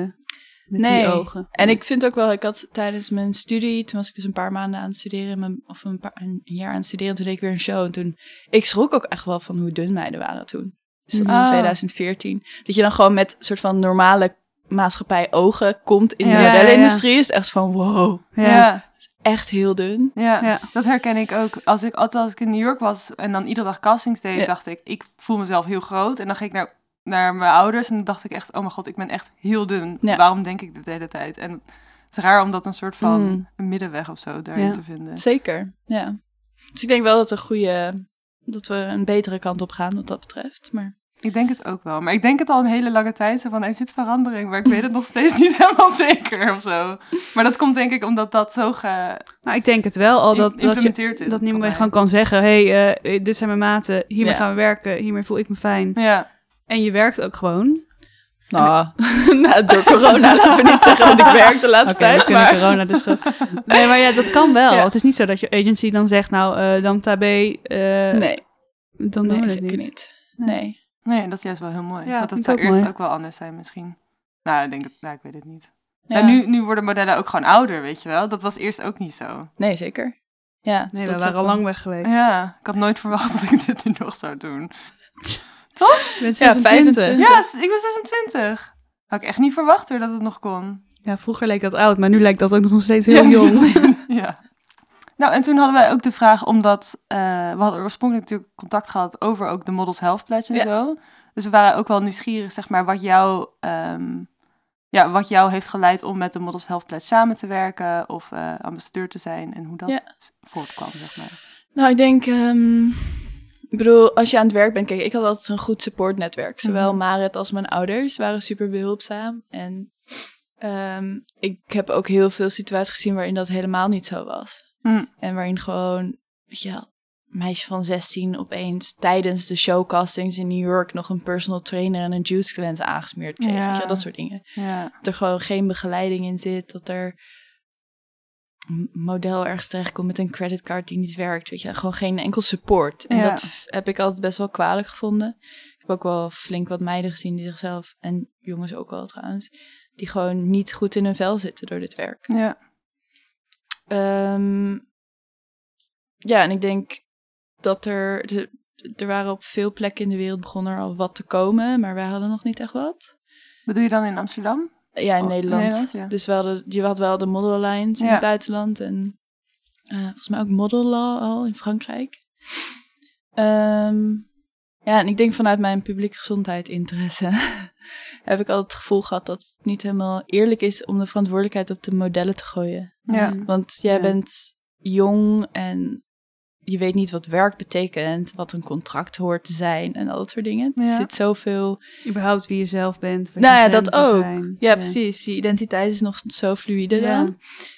met
Nee.
die ogen.
En ik vind ook wel, ik had tijdens mijn studie, toen was ik dus een paar maanden aan het studeren, mijn- of een, paar, een jaar aan het studeren, toen deed ik weer een show. En toen, ik schrok ook echt wel van hoe dun meiden waren toen. Dus dat was in
Ah.
2014. Dat je dan gewoon met soort van normale maatschappij ogen komt in de
Ja, ja, ja.
modellenindustrie. Is echt van wow,
Ja.
Ja,
echt heel dun.
ja.
Ja.
dat herken ik ook. Als ik, altijd als ik in New York was en dan iedere dag castings deed,
Ja.
dacht ik, ik voel mezelf heel groot. En dan ging ik naar, naar mijn ouders en dan dacht ik echt, oh mijn god, ik ben echt heel dun.
Ja.
Waarom denk ik dit de hele tijd? En het is raar om dat een soort van
Mm.
een middenweg of zo daarin
Hmm. Ja.
te vinden.
Zeker, ja. Dus ik denk wel dat een goede, dat we een betere kant op gaan wat dat betreft. Maar
Ik denk het ook wel. Maar ik denk het al een hele lange tijd. zo Van, er zit verandering, maar ik weet het nog steeds niet helemaal zeker of zo. Maar dat komt denk ik omdat dat zo
Nou, ik denk het wel al dat, dat, je,
geïmplementeerd is. bij
dat niemand meer
mij.
gewoon kan zeggen... hé, hey, eh, dit zijn mijn maten, hiermee
Ja.
gaan we werken, hiermee voel ik me fijn.
Ja,
En je werkt ook gewoon.
nou, nou, door corona laten we niet zeggen dat ik werk de laatste
Oké, we
tijd.
kunnen
Maar
corona dus gewoon- Nee, maar ja, dat kan wel.
Ja.
Het is niet zo dat je agency dan zegt, nou, eh, dan tabé, eh
nee,
dan doen
nee,
we het
zeker
niet.
niet. Nee.
Nee, dat is juist wel heel mooi.
Ja,
Want
vind
dat
ik
zou
ook
eerst
mooi.
ook wel anders zijn misschien. Nou, ik denk het, nou, ik weet het niet.
Ja.
En nu, nu worden modellen ook gewoon ouder, weet je wel. Dat was eerst ook niet zo.
Nee, zeker. Ja,
Nee,
dat
we
is
waren
ook
al
wel-
lang weg geweest.
Ja, ik had nooit verwacht dat ik dit nu nog zou doen.
Je bent
Ja,
26.
25.
Ja, s- ik ben 26. Had ik echt niet verwacht hoor, dat het nog kon.
Ja, vroeger leek dat oud, maar nu lijkt dat ook nog steeds heel jong.
ja. Nou, en toen hadden wij ook de vraag, omdat eh, we hadden oorspronkelijk natuurlijk contact gehad over ook de Models Health Pledge en
Ja.
zo. Dus we waren ook wel nieuwsgierig, zeg maar, wat jou, ehm, ja, wat jou heeft geleid om met de Models Health Pledge samen te werken of eh, ambassadeur te zijn en hoe dat
Ja.
s- voortkwam, zeg maar.
Nou, ik denk, ehm, ik bedoel, als je aan het werk bent, kijk, ik had altijd een goed supportnetwerk. Zowel
Mhm.
Marit als mijn ouders waren super behulpzaam. En ehm, ik heb ook heel veel situaties gezien waarin dat helemaal niet zo was.
Hm.
En waarin gewoon, weet je wel, een meisje van 16 opeens tijdens de showcastings in New York nog een personal trainer en een juice cleanse aangesmeerd kreeg.
Ja.
Weet je wel, dat soort dingen.
Ja.
dat er gewoon geen begeleiding in zit. Dat er een model ergens terechtkomt met een creditcard die niet werkt. Weet je, gewoon geen enkel support. En
Ja.
dat f- heb ik altijd best wel kwalijk gevonden. Ik heb ook wel flink wat meiden gezien die zichzelf, en jongens ook wel trouwens, die gewoon niet goed in hun vel zitten door dit werk.
Ja.
Ehm, ja, en ik denk dat er, de- er waren op veel plekken in de wereld begonnen er al wat te komen, maar wij hadden nog niet echt wat.
Bedoel je dan in Amsterdam?
Ja, in
Oh,
Nederland.
Nederland, ja.
Dus wel de, je had wel de model lines in
Ja.
het buitenland. En eh, volgens mij ook model law al in Frankrijk. Ehm, ja, en ik denk vanuit mijn publieke gezondheid interesse heb ik altijd het gevoel gehad dat het niet helemaal eerlijk is om de verantwoordelijkheid op de modellen te gooien.
Ja.
Want jij
Ja.
bent jong en je weet niet wat werk betekent, wat een contract hoort te zijn en al dat soort dingen.
Ja.
Er zit zoveel
Überhaupt wie je zelf bent. wat
Nou
je
ja,
grenzen
dat ook.
zijn.
ja, precies. Je identiteit is nog zo fluide
Ja.
dan.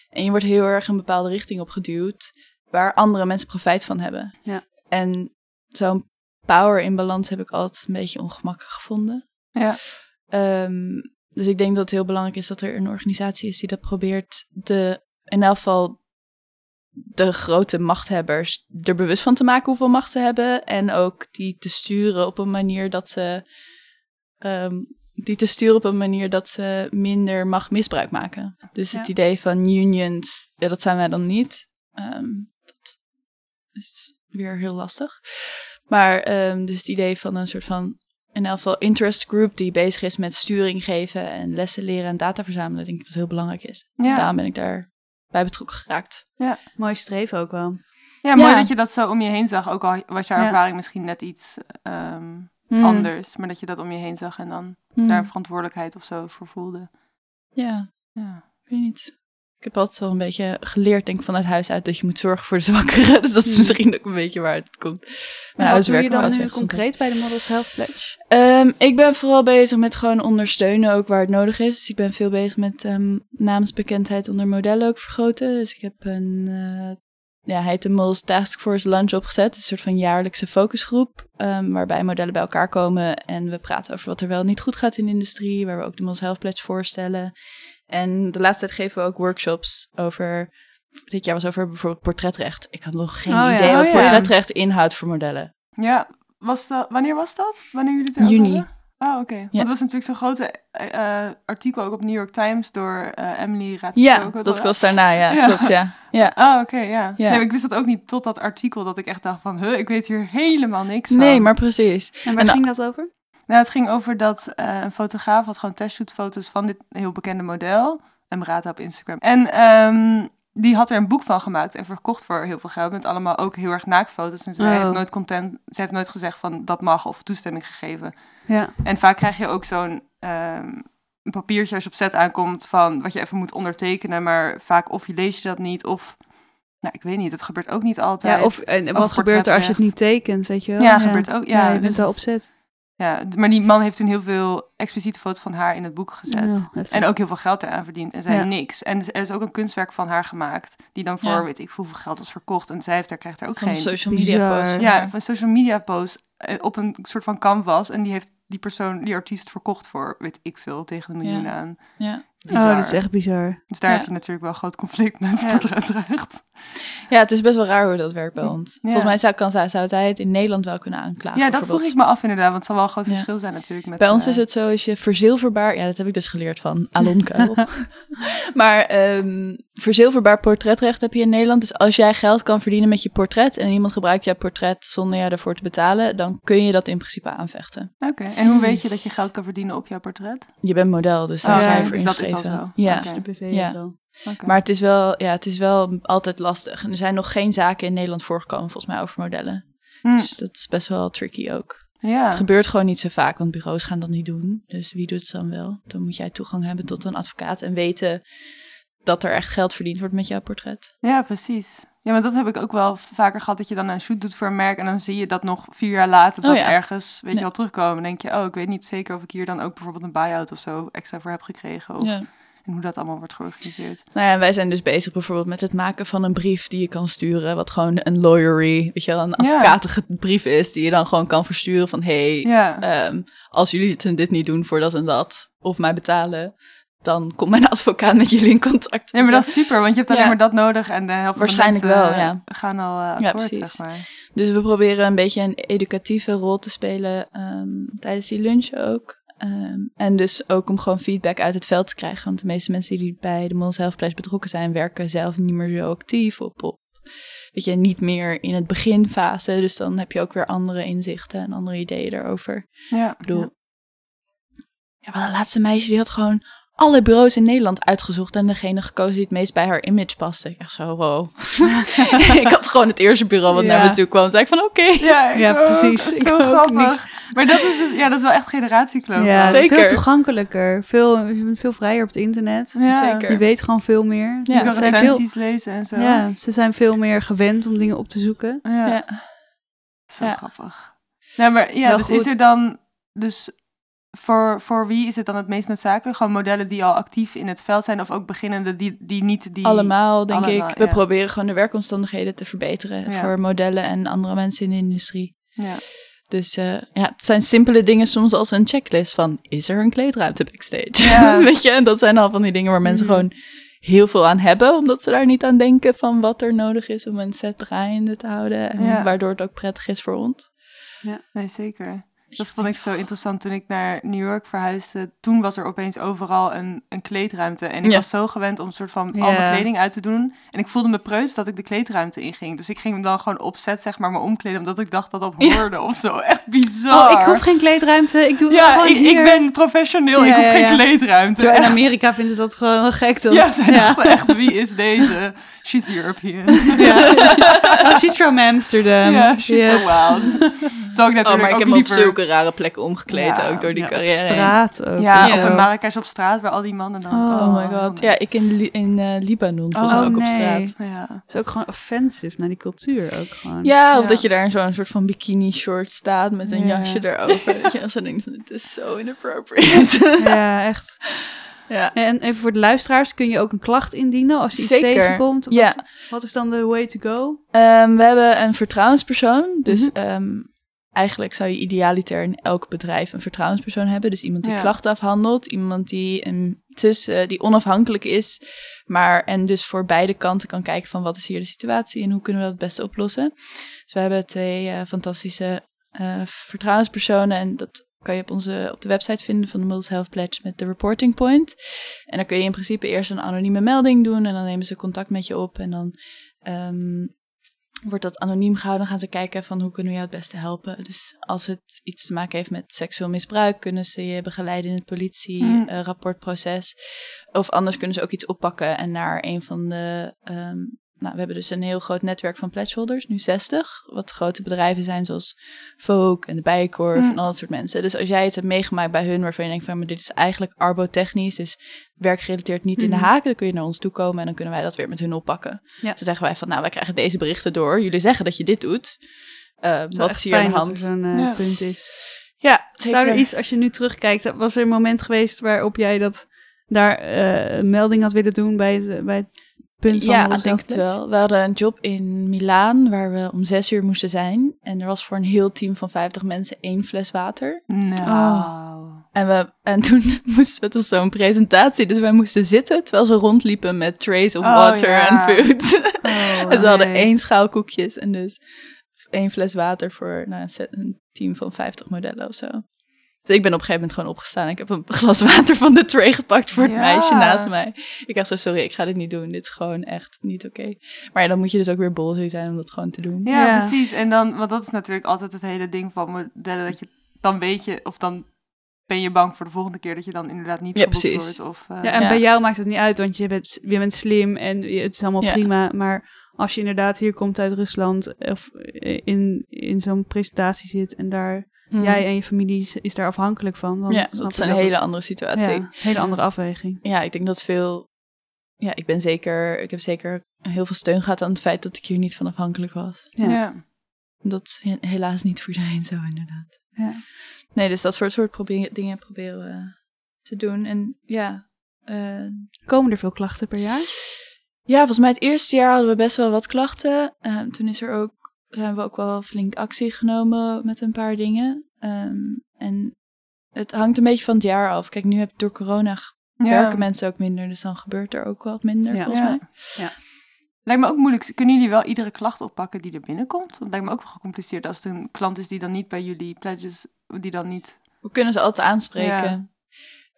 En je wordt heel erg een bepaalde richting opgeduwd waar andere mensen profijt van hebben.
Ja.
En zo'n power in balans heb ik altijd een beetje ongemakkelijk gevonden.
Ja.
Ehm, dus ik denk dat het heel belangrijk is dat er een organisatie is die dat probeert de, in elk geval de grote machthebbers er bewust van te maken hoeveel macht ze hebben. En ook die te sturen op een manier dat ze ehm, die te sturen op een manier dat ze minder mag misbruik maken. Dus het
Ja.
idee van unions, ja, dat zijn wij dan niet. Ehm, dat is weer heel lastig. Maar ehm, dus het idee van een soort van, in elk geval interest group die bezig is met sturing geven en lessen leren en data verzamelen, denk ik dat heel belangrijk is. Dus
Ja.
daarom ben ik daar bij betrokken geraakt.
Mooi streven ook wel.
Ja, mooi
Ja.
dat je dat zo om je heen zag. Ook al was jouw
Ja.
ervaring misschien net iets ehm, anders. Maar dat je dat om je heen zag en dan
Hmm.
daar verantwoordelijkheid of zo voor voelde.
Ja,
Ja.
ik weet niet. Ik Ik heb altijd wel een beetje geleerd, denk ik, vanuit huis uit dat je moet zorgen voor de zwakkeren. Dus dat is misschien ook een beetje waar het komt.
Maar Hmm. wat
ouders
doe je
werken
dan
wel
nu
eens weg,
concreet bij de Models Health Pledge?
Ehm, ik ben vooral bezig met gewoon ondersteunen, ook waar het nodig is. Dus ik ben veel bezig met ehm, namensbekendheid onder modellen ook vergroten. Dus ik heb een, eh, ja, hij heet de Models Task Force Lunch opgezet. Een soort van jaarlijkse focusgroep, ehm, waarbij modellen bij elkaar komen. En we praten over wat er wel niet goed gaat in de industrie, waar we ook de Models Health Pledge voorstellen. En de laatste tijd geven we ook workshops over... Dit jaar was over bijvoorbeeld portretrecht. Ik had nog geen
Oh ja.
idee wat
Oh ja.
portretrecht inhoudt voor modellen.
Ja, was dat, wanneer was dat? Wanneer jullie het erover
Juni.
hadden? Oh, oké. Want
Ja.
het was natuurlijk zo'n grote eh, eh, artikel ook op New York Times door eh, Emily Ratajkowski.
Ja,
ook wel.
dat was daarna, ja.
Ja.
Klopt, ja. ja.
Oh, oké, ja.
Ja.
Nee, maar ik wist dat ook niet tot dat artikel dat ik echt dacht van, huh, ik weet hier helemaal niks van.
Nee, maar precies.
En waar
En-
ging dat over?
Nou, het ging over dat eh, een fotograaf had gewoon testshootfoto's van dit heel bekende model. Emrata op Instagram. En ehm, die had er een boek van gemaakt en verkocht voor heel veel geld. Met allemaal ook heel erg naaktfoto's. En zij
Oh.
heeft nooit content, ze heeft nooit gezegd van dat mag of toestemming gegeven.
Ja.
En vaak krijg je ook zo'n ehm, een papiertje als je op set aankomt van wat je even moet ondertekenen. Maar vaak of je lees je dat niet of... Nou, ik weet niet, het gebeurt ook niet altijd.
ja of eh, en wat gebeurt er als je
portretrecht.
het niet tekent, weet je wel?
Ja, gebeurt ook. Ja,
je bent
dus-
al opzet.
Ja, d- maar die man heeft toen heel veel expliciete foto's van haar in het boek gezet.
Ja, heftig.
En ook heel veel geld eraan verdiend. En zij
Ja.
niks. En dus er is ook een kunstwerk van haar gemaakt. Die dan voor,
Ja.
weet ik veel hoeveel geld was verkocht. En zij heeft daar, krijgt er ook
Van
geen...
de social
Bizar.
media post.
ja, van social media post eh, op een soort van canvas. En die heeft die persoon, die artiest, verkocht voor, weet ik veel, tegen de miljoen
Ja.
aan.
Ja.
Bizar.
Oh, dat is echt bizar.
Dus daar
Ja.
heb je natuurlijk wel een groot conflict met
Ja.
het portretrecht.
ja, het is best wel raar hoe dat werkt bij ons. Volgens mij zou, kan, zij- zou zij het in Nederland wel kunnen aanklagen.
Ja, dat vroeg ik
bijvoorbeeld.
me af inderdaad. Want het zal wel een groot
Ja.
verschil zijn natuurlijk. Met,
Bij ons
eh,
is het zo, als je verzilverbaar... Ja, dat heb ik dus geleerd van Alon Kuil. maar ehm, verzilverbaar portretrecht heb je in Nederland. Dus als jij geld kan verdienen met je portret... en iemand gebruikt jouw portret zonder jou daarvoor te betalen... dan kun je dat in principe aanvechten.
Oké, en
Hmm.
hoe weet je dat je geld kan verdienen op jouw portret?
Je bent model, dus daar
Oh,
zijn
ja,
we voor
dus dat is al
ingeschreven.
zo.
Ja.
Oké.
De PV
Ja.
heeft al.
Oké.
Maar het is, wel, ja, het is wel altijd lastig. En er zijn nog geen zaken in Nederland voorgekomen, volgens mij, over modellen.
Hm,
Dus dat is best wel tricky ook.
ja.
Het gebeurt gewoon niet zo vaak, want bureaus gaan dat niet doen. Dus wie doet het dan wel? Dan moet jij toegang hebben tot een advocaat en weten dat er echt geld verdiend wordt met jouw portret.
Ja, precies. Ja, maar dat heb ik ook wel vaker gehad, dat je dan een shoot doet voor een merk en dan zie je dat nog vier jaar later dat
Oh ja.
ergens, weet je
Ja.
wel, terugkomen. Dan denk je, oh, ik weet niet zeker of ik hier dan ook bijvoorbeeld een buy-out of zo extra voor heb gekregen. Of, En hoe dat allemaal wordt georganiseerd.
Nou ja, en wij zijn dus bezig bijvoorbeeld met het maken van een brief die je kan sturen, wat gewoon een lawyery, weet je wel, een
Ja.
advocatige brief is, die je dan gewoon kan versturen van, hey,
Ja,
ehm, als jullie dit en dit niet doen voor dat en dat, of mij betalen, dan komt mijn advocaat met jullie in contact.
nee, maar dat is super, want je hebt alleen
Ja.
maar dat nodig en de helft
Waarschijnlijk
van de mensen
wel, ja.
eh, gaan al eh
Ja,
akkoord,
precies.
zeg maar.
Dus we proberen een beetje een educatieve rol te spelen ehm, tijdens die lunch ook. Ehm, en dus ook om gewoon feedback uit het veld te krijgen. Want de meeste mensen die bij de Models Health Pledge betrokken zijn, werken zelf niet meer zo actief op. op weet je, niet meer in het beginfase. Dus dan heb je ook weer andere inzichten en andere ideeën daarover.
Ja,
Ik bedoel, ja. maar de laatste meisje die had gewoon alle bureaus in Nederland uitgezocht en degene gekozen die het meest bij haar image paste. Ik echt zo, wow. ik had gewoon het eerste bureau wat naar
Ja.
me toe kwam. Zei ik van, oké.
ja, ik
Ja,
ook.
precies. Ik
Zo
ook
grappig. Maar dat is, dus, ja, dat is wel echt generatiekloof.
Ja, het is
Zeker.
veel toegankelijker. Veel, je bent veel vrijer op het internet. Eh,
Ja.
Zeker.
Je weet gewoon veel meer.
Je
Ja,
kan
ze, zijn veel,
recensies lezen en zo.
ja, ze zijn veel meer gewend om dingen op te zoeken.
Ja.
Ja.
Zo
Ja.
grappig. Nou, maar ja,
Wel
dus
goed.
is er dan... Dus voor, voor wie is het dan het meest noodzakelijk? Gewoon modellen die al actief in het veld zijn... of ook beginnende die, die niet die...
Allemaal, denk
Allemaal,
ik. We
ja.
proberen gewoon de werkomstandigheden te verbeteren
Ja.
voor modellen en andere mensen in de industrie.
Ja.
Dus eh, ja, het zijn simpele dingen soms als een checklist van, is er een kleedruimte backstage?
Ja. Hmm.
Weet je, en dat zijn al van die dingen waar mensen
Mhm.
gewoon heel veel aan hebben, omdat ze daar niet aan denken van wat er nodig is om een set draaiende te houden, en
Ja.
waardoor het ook prettig is voor ons.
Nee, zeker. Dat vond ik zo interessant toen ik naar New York verhuisde. Toen was er opeens overal een, een kleedruimte. En ik
Ja.
was zo gewend om soort van al mijn
Ja.
kleding uit te doen. En ik voelde me preus dat ik de kleedruimte inging. Dus ik ging hem dan gewoon opzet, zeg maar, me omkleden. Omdat ik dacht dat dat
Ja.
hoorde of zo. Echt bizar.
Oh, ik hoef geen kleedruimte. Ik doe het
Ja,
gewoon
ik,
hier.
ik ben professioneel.
Ja,
ik hoef
ja,
geen
ja.
kleedruimte.
Terwijl in
Echt.
Amerika vinden ze dat gewoon wel gek, toch?
Ja, zij dachten echt, wie is deze? She's European.
Ja. Oh, she's from Amsterdam.
yeah, she's so wild. Terwijl ik natuurlijk
oh, maar ik
ook
heb me op
liever...
zulke zulke rare plekken omgekleed
Ja,
ook door die
Ja, op
carrière. heen.
straat ook.
Ja,
Ja.
of in Marrakesh op straat, waar al die mannen dan...
Oh
Oh, my god. Ja, ik in, Li- in eh, Libanon was
Oh,
ook op
nee.
straat.
Ja.
Het is ook gewoon offensive naar die cultuur ook gewoon.
Ja, of
Ja.
dat je daar in zo'n soort van bikini short staat met een
Ja.
jasje erover. dat je dan zo denkt van, dit is zo inappropriate.
Ja, echt.
ja.
En even voor de luisteraars, kun je ook een klacht indienen als je iets
Zeker,
tegenkomt? Wat,
ja.
wat is dan de way to go?
Ehm, we hebben een vertrouwenspersoon. Dus ehm, eigenlijk zou je idealiter in elk bedrijf een vertrouwenspersoon hebben. Dus iemand die
Ja.
klachten afhandelt. Iemand die, een tussen, die onafhankelijk is. Maar en dus voor beide kanten kan kijken van wat is hier de situatie en hoe kunnen we dat het beste oplossen. Dus we hebben twee eh, fantastische eh, vertrouwenspersonen. En dat kan je op, onze, op de website vinden van de Models Health Pledge met de reporting point. En dan kun je in principe eerst een anonieme melding doen. En dan nemen ze contact met je op. En dan ehm, wordt dat anoniem gehouden. Dan gaan ze kijken van hoe kunnen we jou het beste helpen. Dus als het iets te maken heeft met seksueel misbruik, kunnen ze je begeleiden in het eh,
Mm.
politierapportproces. of anders kunnen ze ook iets oppakken en naar een van de. ehm, nou, we hebben dus een heel groot netwerk van pledgeholders, nu 60. Wat grote bedrijven zijn zoals Vogue en de Bijenkorf
Mm.
en al dat soort mensen. Dus als jij het hebt meegemaakt bij hun waarvan je denkt van... maar dit is eigenlijk arbotechnisch, dus werkgerelateerd niet in
Mhm.
de haken... dan kun je naar ons toe komen en dan kunnen wij dat weer met hun oppakken.
Ja.
Toen zeggen wij van, nou, wij krijgen deze berichten door. Jullie zeggen dat je dit doet. Eh,
Het
wat
echt
is hier aan
fijn
de
dat
hand?
er zo'n eh,
Ja.
punt is.
Ja, zeker.
Zou er iets, als je nu terugkijkt, was er een moment geweest waarop jij dat daar eh, een melding had willen doen bij het, bij het punt van
ja,
Models
ik denk het
Health Pledge?
wel. We hadden een job in Milaan waar we om zes uur moesten zijn. En er was voor een heel team van 50 mensen één fles water.
Oh.
Nou.
En, we, en toen moesten we tot zo'n presentatie. Dus wij moesten zitten terwijl ze rondliepen met trays of
Oh,
water en
ja.
food.
Oh,
en ze hadden
nee.
één schaal koekjes en dus één fles water voor nou, een set- een team van 50 modellen of zo. Dus ik ben op een gegeven moment gewoon opgestaan. Ik heb een glas water van de tray gepakt voor het
Ja.
meisje naast mij. Ik dacht zo, sorry, ik ga dit niet doen. Dit is gewoon echt niet oké. Maar ja, dan moet je dus ook weer bol zijn om dat gewoon te doen.
Ja,
Ja.
precies. En dan, want dat is natuurlijk altijd het hele ding van modellen, dat je dan weet je, of dan ben je bang voor de volgende keer dat je dan inderdaad niet
Ja,
geboekt
precies.
wordt. Of, eh,
Ja, en
Ja.
bij jou maakt het niet uit, want je bent, je bent slim en je- het is allemaal
Ja.
prima. Maar als je inderdaad hier komt uit Rusland of in, in zo'n presentatie zit en daar
Mm.
jij en je familie is, is daar afhankelijk van, dan
ja,
snap
dat is
ik
een hele
het-
andere situatie.
ja, het is een hele andere afweging.
ja, ik denk dat veel. Ja, ik ben zeker. Ik heb zeker heel veel steun gehad aan het feit dat ik hier niet van afhankelijk was.
Ja.
ja.
Dat is he- helaas niet voor iedereen zo, inderdaad.
Ja.
Nee, dus dat soort, soort probeer- dingen proberen we te doen. En ja. eh,
Komen er veel klachten per jaar?
ja, volgens mij het eerste jaar hadden we best wel wat klachten. Ehm, toen is er ook, zijn we ook wel flink actie genomen met een paar dingen. Ehm, en het hangt een beetje van het jaar af. Kijk, nu heb door corona ge-
Ja.
werken mensen ook minder. Dus dan gebeurt er ook wat minder,
Ja.
volgens
Ja.
mij.
Lijkt me ook moeilijk. Kunnen jullie wel iedere klacht oppakken die er binnenkomt? Want het lijkt me ook wel gecompliceerd als het een klant is die dan niet bij jullie pledges, die dan niet...
We kunnen ze altijd aanspreken.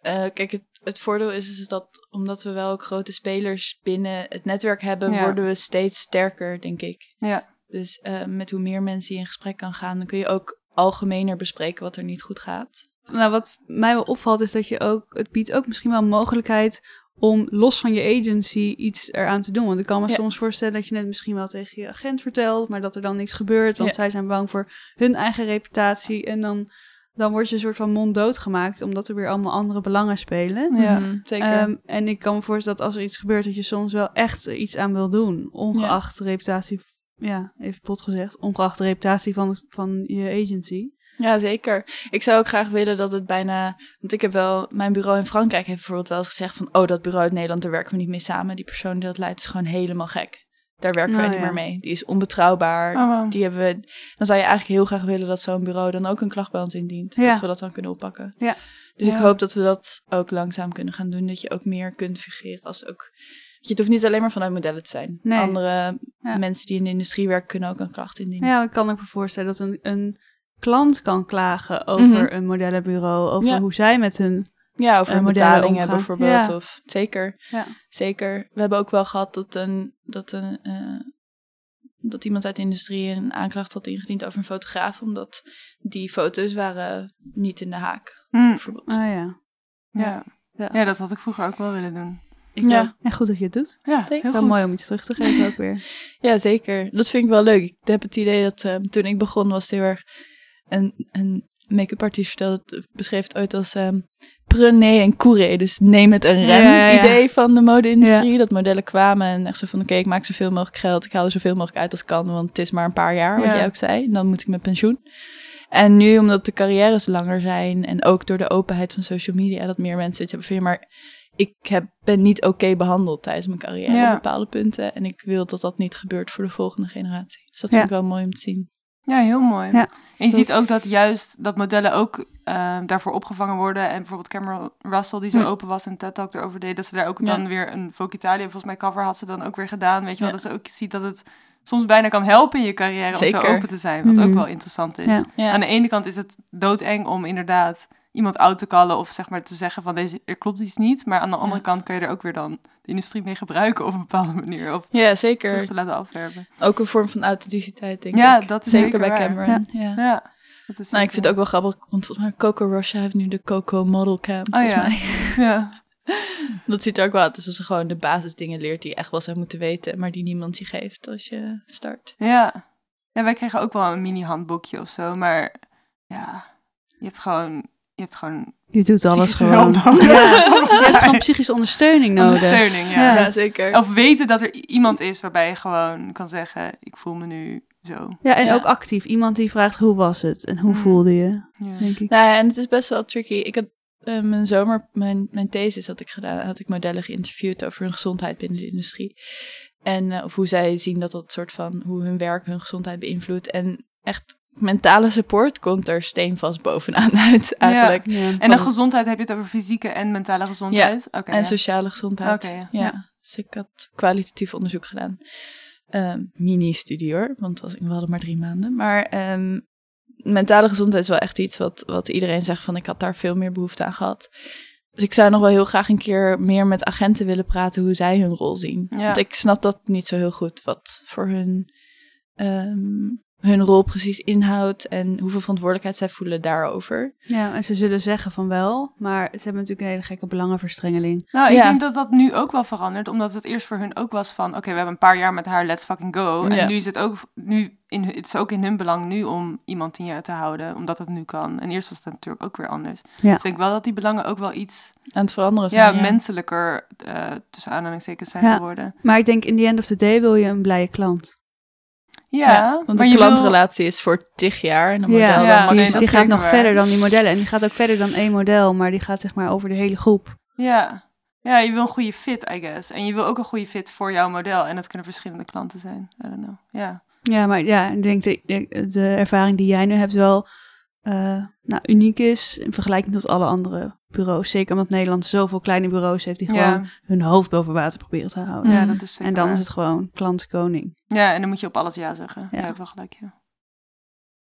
Ja.
Eh, kijk, het, het voordeel is, is dat omdat we wel ook grote spelers binnen het netwerk hebben,
Ja.
worden we steeds sterker, denk ik.
Ja.
Dus eh, met hoe meer mensen je in gesprek kan gaan, dan kun je ook algemener bespreken wat er niet goed gaat.
Nou, wat mij wel opvalt is dat je ook, het biedt ook misschien wel een mogelijkheid om los van je agency iets eraan te doen. Want ik kan me
Ja.
soms voorstellen dat je net misschien wel tegen je agent vertelt, maar dat er dan niks gebeurt, want
Ja.
zij zijn bang voor hun eigen reputatie. En dan, dan word je een soort van monddood gemaakt, omdat er weer allemaal andere belangen spelen.
Ja.
Mhm, zeker.
Ehm, en ik kan me voorstellen dat als er iets gebeurt, dat je soms wel echt iets aan wil doen. Ongeacht de reputatie, ja, even bot gezegd, ongeacht de reputatie van, van je agency.
Ja, zeker. Ik zou ook graag willen dat het bijna. Want ik heb wel. Mijn bureau in Frankrijk heeft bijvoorbeeld wel eens gezegd: van... Oh, dat bureau uit Nederland, daar werken we niet mee samen. Die persoon die dat leidt is gewoon helemaal gek. Daar werken
Oh,
wij niet
ja.
meer mee. Die is onbetrouwbaar.
Oh, wow.
Die hebben we, dan zou je eigenlijk heel graag willen dat zo'n bureau dan ook een klacht bij ons indient.
Ja.
Dat we dat dan kunnen oppakken.
Ja.
Dus ik
Ja.
hoop dat we dat ook langzaam kunnen gaan doen. Dat je ook meer kunt figureren als ook... Je het hoeft niet alleen maar vanuit modellen te zijn.
Nee.
Andere
Ja.
mensen die in de industrie werken kunnen ook een klacht indienen.
Ja, ik kan ook me voorstellen dat een, een klant kan klagen over
Mhm.
een modellenbureau, over
Ja.
hoe zij met hun...
Ja, of we
Eh,
een
modellen
betaling
omgaan.
hebben bijvoorbeeld.
Ja.
Of, zeker,
Ja.
zeker. We hebben ook wel gehad dat, een, dat, een, eh, dat iemand uit de industrie een aanklacht had ingediend over een fotograaf. Omdat die foto's waren niet in de haak,
Hm,
bijvoorbeeld.
Ah ja.
ja.
Ja.
Ja. dat had ik vroeger ook wel willen doen.
Ik
Ja.
ja. En goed dat je het doet.
Ja,
Zeker.
heel
Wel
goed.
mooi om iets terug te geven ook weer.
Ja, zeker. Dat vind ik wel leuk. Ik heb het idee dat eh, toen ik begon was het heel erg een, een make-up artiest vertelde, het- beschreef het ooit als ehm prenez en courez. Dus neem het en ren
Ja, ja, ja.
idee van de mode-industrie. Dat modellen kwamen en echt zo van, oké, ik maak zoveel mogelijk geld. Ik haal er zoveel mogelijk uit als kan, want het is maar een paar jaar, wat
Ja.
jij ook zei. En dan moet ik met pensioen. En nu, omdat de carrières langer zijn en ook door de openheid van social media, dat meer mensen iets hebben van, ja, maar ik heb, ben niet oké behandeld tijdens mijn carrière
Ja.
op bepaalde punten. En ik wil dat dat niet gebeurt voor de volgende generatie. Dus dat
Ja.
vind ik wel mooi om te zien.
Ja, heel mooi.
Ja.
En je ziet ook dat juist dat modellen ook eh, daarvoor opgevangen worden. En bijvoorbeeld Cameron Russell, die zo
Hm.
open was en TED Talk erover deed, dat ze daar ook
Ja.
dan weer een Vogue Italia, volgens mij cover had ze dan ook weer gedaan. Weet je wel,
Ja.
dat ze ook ziet dat het soms bijna kan helpen in je carrière om zo
Zeker.
open te zijn. Wat ook
Mhm.
wel interessant is.
Ja.
Ja.
Aan de ene kant is het doodeng om inderdaad iemand oud te kallen of zeg maar te zeggen van deze, er klopt iets niet. Maar aan de andere
Ja.
kant kan je er ook weer dan de industrie mee gebruiken op een bepaalde manier. Of
Ja, zeker.
terug te laten afwerven.
Ook een vorm van authenticiteit, denk
Ja,
ik.
dat is
zeker,
zeker
bij
waar.
Cameron. Ja.
Ja, dat is
Nou,
zeker-
ik vind het ook wel grappig, want volgens mij Coco Rocha heeft nu de Coco Model Camp, volgens
Oh, ja.
mij.
Ja.
Dat ziet er ook wel uit, dus dat ze gewoon de basisdingen leert die je echt wel zou moeten weten, maar die niemand je geeft als je start.
Ja. ja, wij kregen ook wel een mini-handboekje of zo, maar ja, je hebt gewoon, je hebt gewoon
Je doet alles
psychische
gewoon.
hulp nodig.
Je hebt gewoon psychische ondersteuning nodig.
Ondersteuning, ja.
Ja.
zeker.
Of weten dat er i- iemand is waarbij je gewoon kan zeggen, ik voel me nu zo.
Ja, en
Ja.
ook actief. Iemand die vraagt hoe was het en hoe
Mm.
voelde je,
Ja.
denk ik.
Nou, ja, en het is best wel tricky. Ik had eh, mijn zomer, mijn, mijn thesis had ik gedaan, had ik modellen geïnterviewd over hun gezondheid binnen de industrie. En eh, of hoe zij zien dat dat soort van, hoe hun werk hun gezondheid beïnvloedt. En echt mentale support komt er steenvast bovenaan uit eigenlijk.
Ja.
En de gezondheid, heb je het over fysieke en mentale gezondheid? Oké,
en
ja.
sociale gezondheid.
Oké, ja.
ja. dus ik had kwalitatief onderzoek gedaan. Ehm, Mini-studie hoor, want het was, we hadden maar drie maanden. Maar ehm, mentale gezondheid is wel echt iets wat, wat iedereen zegt van ik had daar veel meer behoefte aan gehad. Dus ik zou nog wel heel graag een keer meer met agenten willen praten hoe zij hun rol zien.
Ja.
Want ik snap dat niet zo heel goed wat voor hun, ehm, hun rol precies inhoudt en hoeveel verantwoordelijkheid zij voelen daarover.
Ja, en ze zullen zeggen van wel, maar ze hebben natuurlijk een hele gekke belangenverstrengeling.
Nou, ik
Ja.
denk dat dat nu ook wel verandert, omdat het eerst voor hun ook was van, oké, we hebben een paar jaar met haar, let's fucking go.
Ja.
En nu is het ook, nu in, hun- het is ook in hun belang nu om iemand tien jaar te houden, omdat het nu kan. En eerst was het natuurlijk ook weer anders.
Ja.
Dus ik denk wel dat die belangen ook wel iets
Aan het veranderen
ja,
zijn. ja.
menselijker eh, tussen aanhalingstekens zijn
Ja.
geworden.
Maar ik denk, in the end of the day wil je een blije klant.
Ja,
want
maar
de
je wil-
klantrelatie is voor tig jaar en een model
Ja,
dan
ja,
die,
nee,
maximaal.
dat
Dus die
is
gaat
zeker
nog
waar.
verder dan die modellen. En die gaat ook verder dan één model, maar die gaat zeg maar over de hele groep.
ja. ja, je wil een goede fit, I guess. En je wil ook een goede fit voor jouw model. En dat kunnen verschillende klanten zijn. I don't know. Ja,
Ja, maar ja, ik denk de, de, de ervaring die jij nu hebt wel eh, nou, uniek is in vergelijking tot alle andere bureaus. Zeker omdat Nederland zoveel kleine bureaus heeft die
ja.
gewoon hun hoofd boven water proberen te houden.
Mm.
ja dat is zeker
en dan
waar.
is het gewoon klantkoning.
Ja, en dan moet je op alles ja zeggen. Ja,
Ja.
je hebt wel gelijk, ja.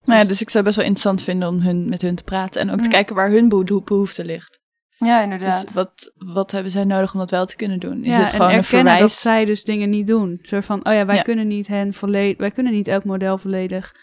Nou ja, dus ik zou het best wel interessant vinden om hun, met hun te praten en ook te
Mm.
kijken waar hun beho- behoefte ligt.
Ja, inderdaad.
Dus wat, wat hebben zij nodig om dat wel te kunnen doen? Is
ja,
het gewoon
en
een
erkennen
verwijs?
dat zij dus dingen niet doen. Een soort van, oh ja, wij
Ja.
kunnen niet hen volledig, wij kunnen niet elk model volledig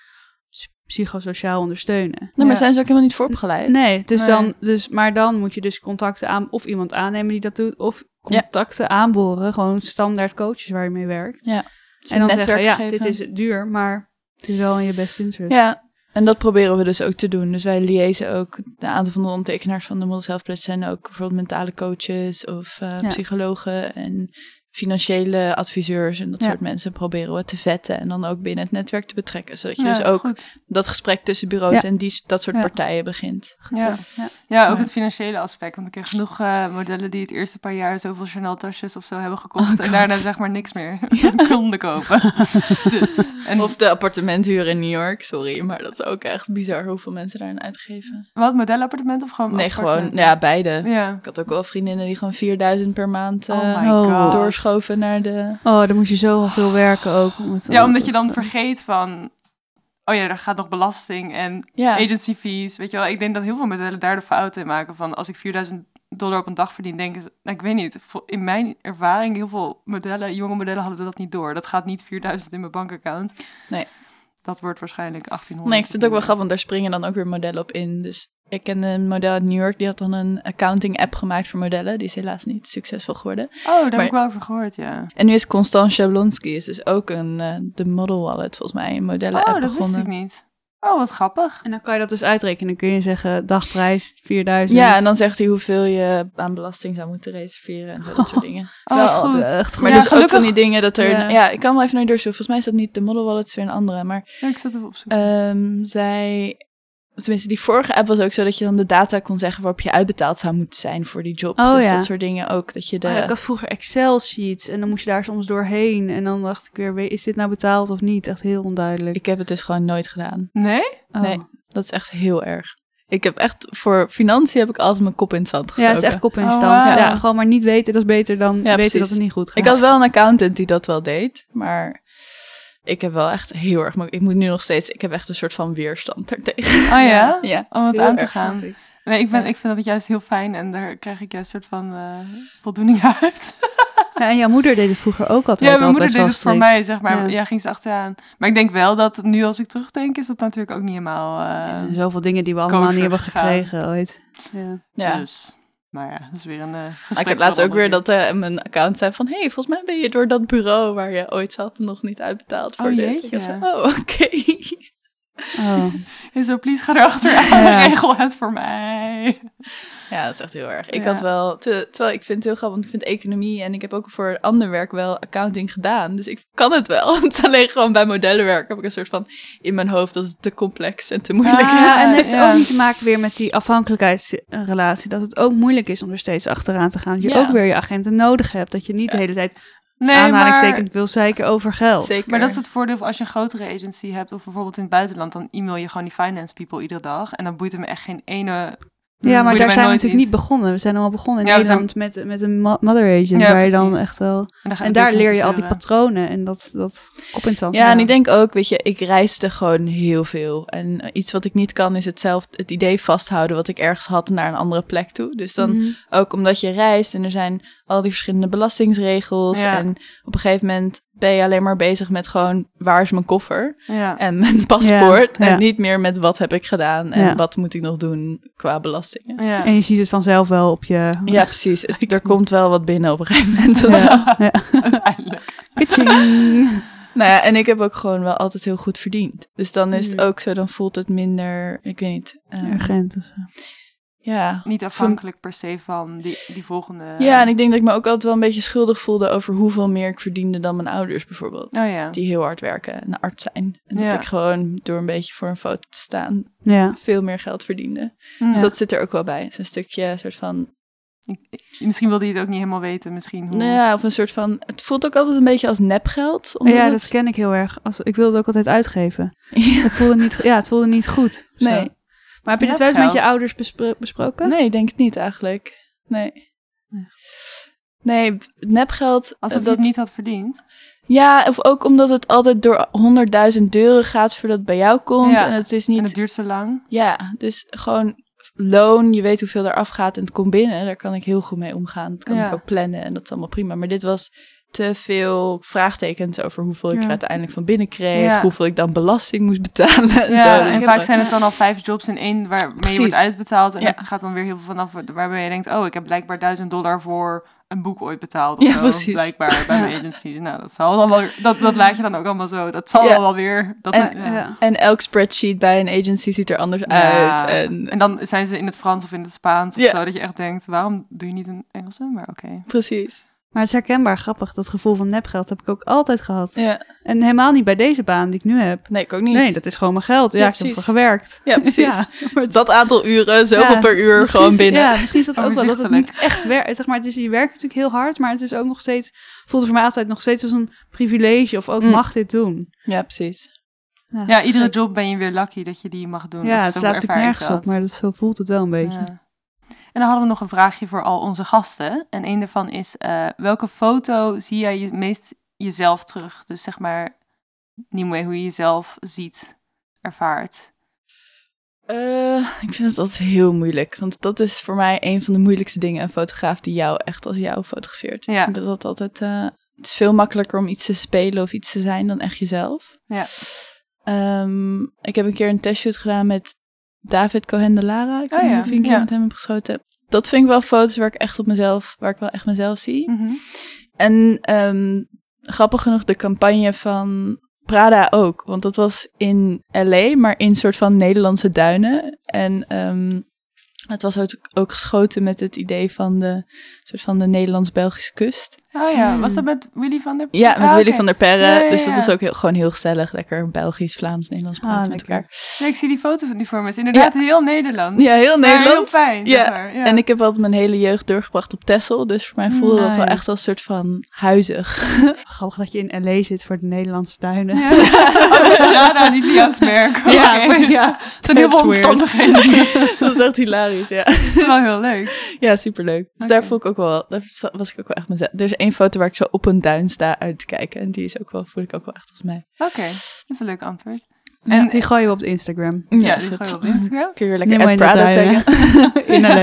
ps- psychosociaal ondersteunen.
Nou, maar
Ja.
zijn ze ook helemaal niet voor opgeleid?
Nee, dus
Nee.
dan, dus, maar dan moet je dus contacten aan, of iemand aannemen die dat doet, of contacten aanboren, gewoon standaard coaches waar je mee werkt.
Ze
en dan
een
zeggen, ja,
netwerk geven.
dit is duur, maar het is wel in je best interest.
Ja, en dat proberen we dus ook te doen. Dus wij liaisen ook, een aantal van de ondertekenaars van de Models Health Pledge zijn ook bijvoorbeeld mentale coaches of eh,
Ja.
psychologen en financiële adviseurs en dat
Ja.
soort mensen proberen we te vetten en dan ook binnen het netwerk te betrekken. Zodat je
Ja,
dus ook
goed.
dat gesprek tussen bureaus
Ja.
en die, dat soort
Ja.
partijen begint.
Ja.
Ja.
Ja, ook
Ja.
het financiële aspect. Want ik ken genoeg eh, modellen die het eerste paar jaar zoveel Chanel-tasjes of zo hebben gekocht.
Oh,
en
God.
daarna zeg maar niks meer konden kopen. dus, en
Of de appartementhuur in New York, sorry, maar dat is ook echt bizar hoeveel mensen daarin uitgeven.
Dus, wat, modellenappartement of gewoon
nee, gewoon,
appartementen?
ja, beide.
Ja.
Ik had ook wel vriendinnen die gewoon 4000 per maand eh,
Oh my
oh,
god.
doorschoven naar de...
Oh, dan moet je zoveel werken ook. om het-
Ja, omdat je dan
dat-
vergeet van... Oh ja, er gaat nog belasting en
Ja.
agency fees. Weet je wel, ik denk dat heel veel modellen daar de fout in maken. Van als ik 4000 dollar op een dag verdien, denken ze... Nou, ik weet niet, vo- in mijn ervaring, heel veel modellen, jonge modellen hadden dat niet door. Dat gaat niet 4000 in mijn bankaccount.
Nee.
Dat wordt waarschijnlijk 1800.
Nee, ik vind het ook wel grappig, want daar springen dan ook weer modellen op in. Dus ik kende een model uit New York, die had dan een accounting-app gemaakt voor modellen. Die is helaas niet succesvol geworden.
Oh, daar heb
Maar-
ik wel over gehoord, ja.
En nu is Constance Jablonski, is dus ook een, eh, de model wallet volgens mij, een modellen-app
Oh, dat wist
begonnen.
ik niet. Oh, wat grappig.
En dan kan je dat dus uitrekenen. Dan kun je zeggen dagprijs 4000.
Ja, en dan zegt hij hoeveel je aan belasting zou moeten reserveren en zo, dat soort dingen.
Oh,
Wel
wat goed.
echt goed.
Maar
Ja,
dus ook van
gelukkig-
die dingen dat er...
Ja.
Ja. ik kan wel even naar je doorzoeken. Volgens mij is dat niet de Model Wallet, het is weer een andere. Maar
Ja, ik zat even op zoek.
Ehm, zij, tenminste, die vorige app was ook zo dat je dan de data kon zeggen waarop je uitbetaald zou moeten zijn voor die job.
Oh,
dus
ja.
dat soort dingen ook. Dat je de.
Ah, ik had vroeger Excel-sheets en dan moest je daar soms doorheen. En dan dacht ik weer, we- is dit nou betaald of niet? Echt heel onduidelijk.
Ik heb het dus gewoon nooit gedaan.
Nee?
Oh.
nee. Dat is echt heel erg. Ik heb echt voor financiën heb ik altijd mijn kop in het zand
Ja,
gestoken.
het is echt kop in
Oh,
stand.
wauw.
ja, gewoon maar niet weten, dat is beter dan weten
precies.
dat het niet goed gaat.
Ik had wel een accountant die dat wel deed, maar ik heb wel echt heel erg. Ik moet nu nog steeds. Ik heb echt een soort van weerstand daartegen.
Oh ja?
ja.
Om het
Heel
aan te
erg,
gaan.
snap ik.
Nee, ik, ben,
Ja.
ik vind dat juist heel fijn en daar krijg ik juist een soort van eh, voldoening uit.
Ja, en jouw moeder deed het vroeger ook altijd.
Ja, mijn
al
moeder
best
deed
wel
het voor
strikt.
mij, zeg maar.
Ja.
Ja. ging ze achteraan. Maar ik denk wel dat nu als ik terugdenk, is dat natuurlijk ook niet helemaal...
Er
eh,
zijn zoveel dingen die we allemaal
kosher
niet hebben
gegaan.
gekregen ooit. Ja.
ja.
Dus, maar ja, dat is weer een eh, gesprek.
Maar ik
voor
heb laatst
een
ook weer
ander
dat eh, mijn account zei van... hey, volgens mij ben je door dat bureau waar je ooit zat nog niet uitbetaald voor
Oh,
dit.
jeetje.
Ik was zo, oh, oké.
Oh.
keer. Hey, zo, please, ga erachteraan. Regel het voor mij.
Ja, dat is echt heel erg. Ik
Ja.
had wel... te- terwijl ik vind het heel grappig, want ik vind economie... en ik heb ook voor ander werk wel accounting gedaan. Dus ik kan het wel. Het is alleen gewoon bij modellenwerk heb ik een soort van in mijn hoofd... dat het te complex en te moeilijk
Ah,
is.
en het heeft
ja.
ook niet te maken weer met die afhankelijkheidsrelatie. Dat het ook moeilijk is om er steeds achteraan te gaan. Dat je
Ja.
ook weer je agenten nodig hebt. Dat je niet de hele tijd
Nee,
aanhalingstekend
maar...
wil zeiken over geld.
Zeker.
Maar dat is het voordeel van als je een grotere agency hebt, of bijvoorbeeld in het buitenland, dan e-mail je gewoon die finance people iedere dag. En dan boeit het me echt geen ene. boeit
Ja, maar daar
mij
zijn we
nooit
natuurlijk
iets.
niet begonnen. We zijn allemaal begonnen in
Ja, we zijn-
Nederland met, met een mo- mother agent.
Ja,
waar je dan
precies.
echt
En,
wel...
Oh,
dan ga
En daar
natuurlijk
leer je al die
sturen.
patronen. En dat, dat kop in het zand.
Ja, en
houden.
ik denk ook, weet je, ik reisde gewoon heel veel. En eh, iets wat ik niet kan is hetzelfde, het idee vasthouden wat ik ergens had naar een andere plek toe. Dus dan
Mhm.
Ook omdat je reist en er zijn al die verschillende belastingsregels.
Ja.
En op een gegeven moment ben je alleen maar bezig met gewoon waar is mijn koffer
Ja.
en mijn paspoort.
Ja, ja.
En niet meer met wat heb ik gedaan en
Ja.
wat moet ik nog doen qua belastingen.
Ja.
En je ziet het vanzelf wel op je...
Ja, precies. Het- er komt wel wat binnen op een gegeven moment. of zo.
Uiteindelijk.
Kitching.
Nou ja, en ik heb ook gewoon wel altijd heel goed verdiend. Dus dan is het
Mm.
ook zo, dan voelt het minder, ik weet niet. eh,
Agent of zo.
ja.
Niet afhankelijk per se van die, die volgende.
ja, en ik denk dat ik me ook altijd wel een beetje schuldig voelde over hoeveel meer ik verdiende dan mijn ouders bijvoorbeeld.
Oh ja.
die heel hard werken en arts zijn. En
Ja.
dat ik gewoon door een beetje voor een foto te staan
Ja.
veel meer geld verdiende.
Hm.
Dus dat zit er ook wel bij. Zo'n stukje soort van...
Misschien wilde je het ook niet helemaal weten. Misschien hoe.
Nou ja, of een soort van... Het voelt ook altijd een beetje als nepgeld. omdat
Ja,
het-
dat ken ik heel erg. Als, ik wilde het ook altijd uitgeven.
Ja,
Het voelde niet, ja, het voelde niet goed. of zo.
nee,
Maar heb je dit
net
wel eens met
geld.
je ouders bespro- besproken?
nee, ik denk het niet eigenlijk. Nee. Nee, nepgeld...
Alsof
eh,
je
dat,
het niet had verdiend.
Ja, of ook omdat het altijd door honderdduizend deuren gaat voordat het bij jou komt.
Ja,
En het is niet...
En het duurt zo lang.
Ja, dus gewoon loon, je weet hoeveel er afgaat en het komt binnen. Daar kan ik heel goed mee omgaan. Dat kan
Ja.
ik ook plannen en dat is allemaal prima. Maar dit was te veel vraagtekens over hoeveel ik
Ja.
er uiteindelijk van binnen kreeg.
Ja.
Hoeveel ik dan belasting moest betalen. En zo. Dus
Ja, en
Dat is
vaak
gewoon-
zijn het dan al vijf jobs in één waarmee je wordt
Precies.
uitbetaald. En
Ja.
er gaat dan weer heel veel vanaf waarbij je denkt... oh, ik heb blijkbaar duizend dollar voor een boek ooit betaald. Of
Ja,
zo,
precies.
Blijkbaar bij mijn agency. Nou, dat, zal dan wel, dat, dat laat je dan ook allemaal zo. Dat zal
Ja.
dan wel weer... Dat,
En-
ja.
Ja.
En elk spreadsheet bij een agency ziet er anders
Ja.
uit. En
En dan zijn ze in het Frans of in het Spaans of
Ja.
zo. Dat je echt denkt, waarom doe je niet een Engelse? Maar oké.
precies.
Maar het is herkenbaar grappig. Dat gevoel van nepgeld heb ik ook altijd gehad.
Ja.
En helemaal niet bij deze baan die ik nu heb.
Nee, ik ook niet.
Nee, dat is gewoon mijn geld. Ja,
Ja,
ik heb ervoor
precies.
gewerkt.
Ja, precies.
Ja, maar het-
Dat aantal uren, zoveel
Ja,
per uur,
misschien
gewoon
is-
binnen.
Ja, misschien is dat ook wel dat het
Overzichtelijk.
niet echt werkt. Zeg maar, het is, je werkt natuurlijk heel hard, maar het is ook nog steeds... voelt het voor mij altijd nog steeds als een privilege of ook
Mm.
mag dit doen.
Ja, precies.
Ja, iedere job ben je weer lucky dat je die mag doen.
Ja,
Of
het
zo
slaat
ervaar
natuurlijk
ik
nergens
dat.
op, maar dat, zo voelt het wel een beetje.
Ja. En dan hadden we nog een vraagje voor al onze gasten. En een daarvan is, eh, welke foto zie jij je meest jezelf terug? Dus zeg maar, niet meer hoe je jezelf ziet, ervaart.
Eh, ik vind het altijd heel moeilijk. Want dat is voor mij een van de moeilijkste dingen. Een fotograaf die jou echt als jou fotografeert.
Ja.
Ik vind Dat dat altijd, eh, het is veel makkelijker om iets te spelen of iets te zijn dan echt jezelf.
Ja.
Ehm, ik heb een keer een testshoot gedaan met David Cohen de Lara. Ik
Oh
weet niet
ja,
of je een keer
ja.
met hem hebt geschoten. Dat vind ik wel foto's waar ik echt op mezelf, waar ik wel echt mezelf zie.
Mhm.
En ehm, grappig genoeg, de campagne van Prada ook, want dat was in LA, maar in soort van Nederlandse duinen. En ehm, het was ook, ook geschoten met het idee van de soort van de Nederlands-Belgische kust.
Oh ja, was dat met Willy van der
Hmm. Ja, met
Ah,
Willy
oké.
van der Perre.
Ja, ja,
Dus dat
ja.
is ook heel, gewoon heel gezellig. Lekker Belgisch, Vlaams, Nederlands
Ah,
praten met
lekker.
elkaar.
Nee, ik zie die foto van die voor me. Het is inderdaad heel Nederland.
Ja, heel
Maar
Nederlands.
Heel fijn,
ja.
zeg maar. ja.
En ik heb altijd mijn hele jeugd doorgebracht op Texel. Dus voor mij voelde dat wel
Nice.
echt als soort van huizig.
Grappig dat je in L.A. zit voor de Nederlandse duinen.
Ja. Oh, Prada, niet Liaans merk.
Ja,
Oké.
ja.
Het zijn heel veel
That's weird.
omstandigheden.
dat is echt hilarisch, ja.
wel heel leuk.
Ja, superleuk. Dus
Oké.
daar voel ik ook wel, daar sta- was ik ook wel echt mezelf. Er is één foto waar ik zo op een duin sta uit te kijken. En die is ook wel, voel ik ook wel echt als mij.
Oké, dat is een leuk antwoord. En
Die gooien we op Instagram.
ja, die gooi je op Instagram.
Kun je weer
Neem
lekker
maar
at
in
Prada
de duinen.
taggen.
In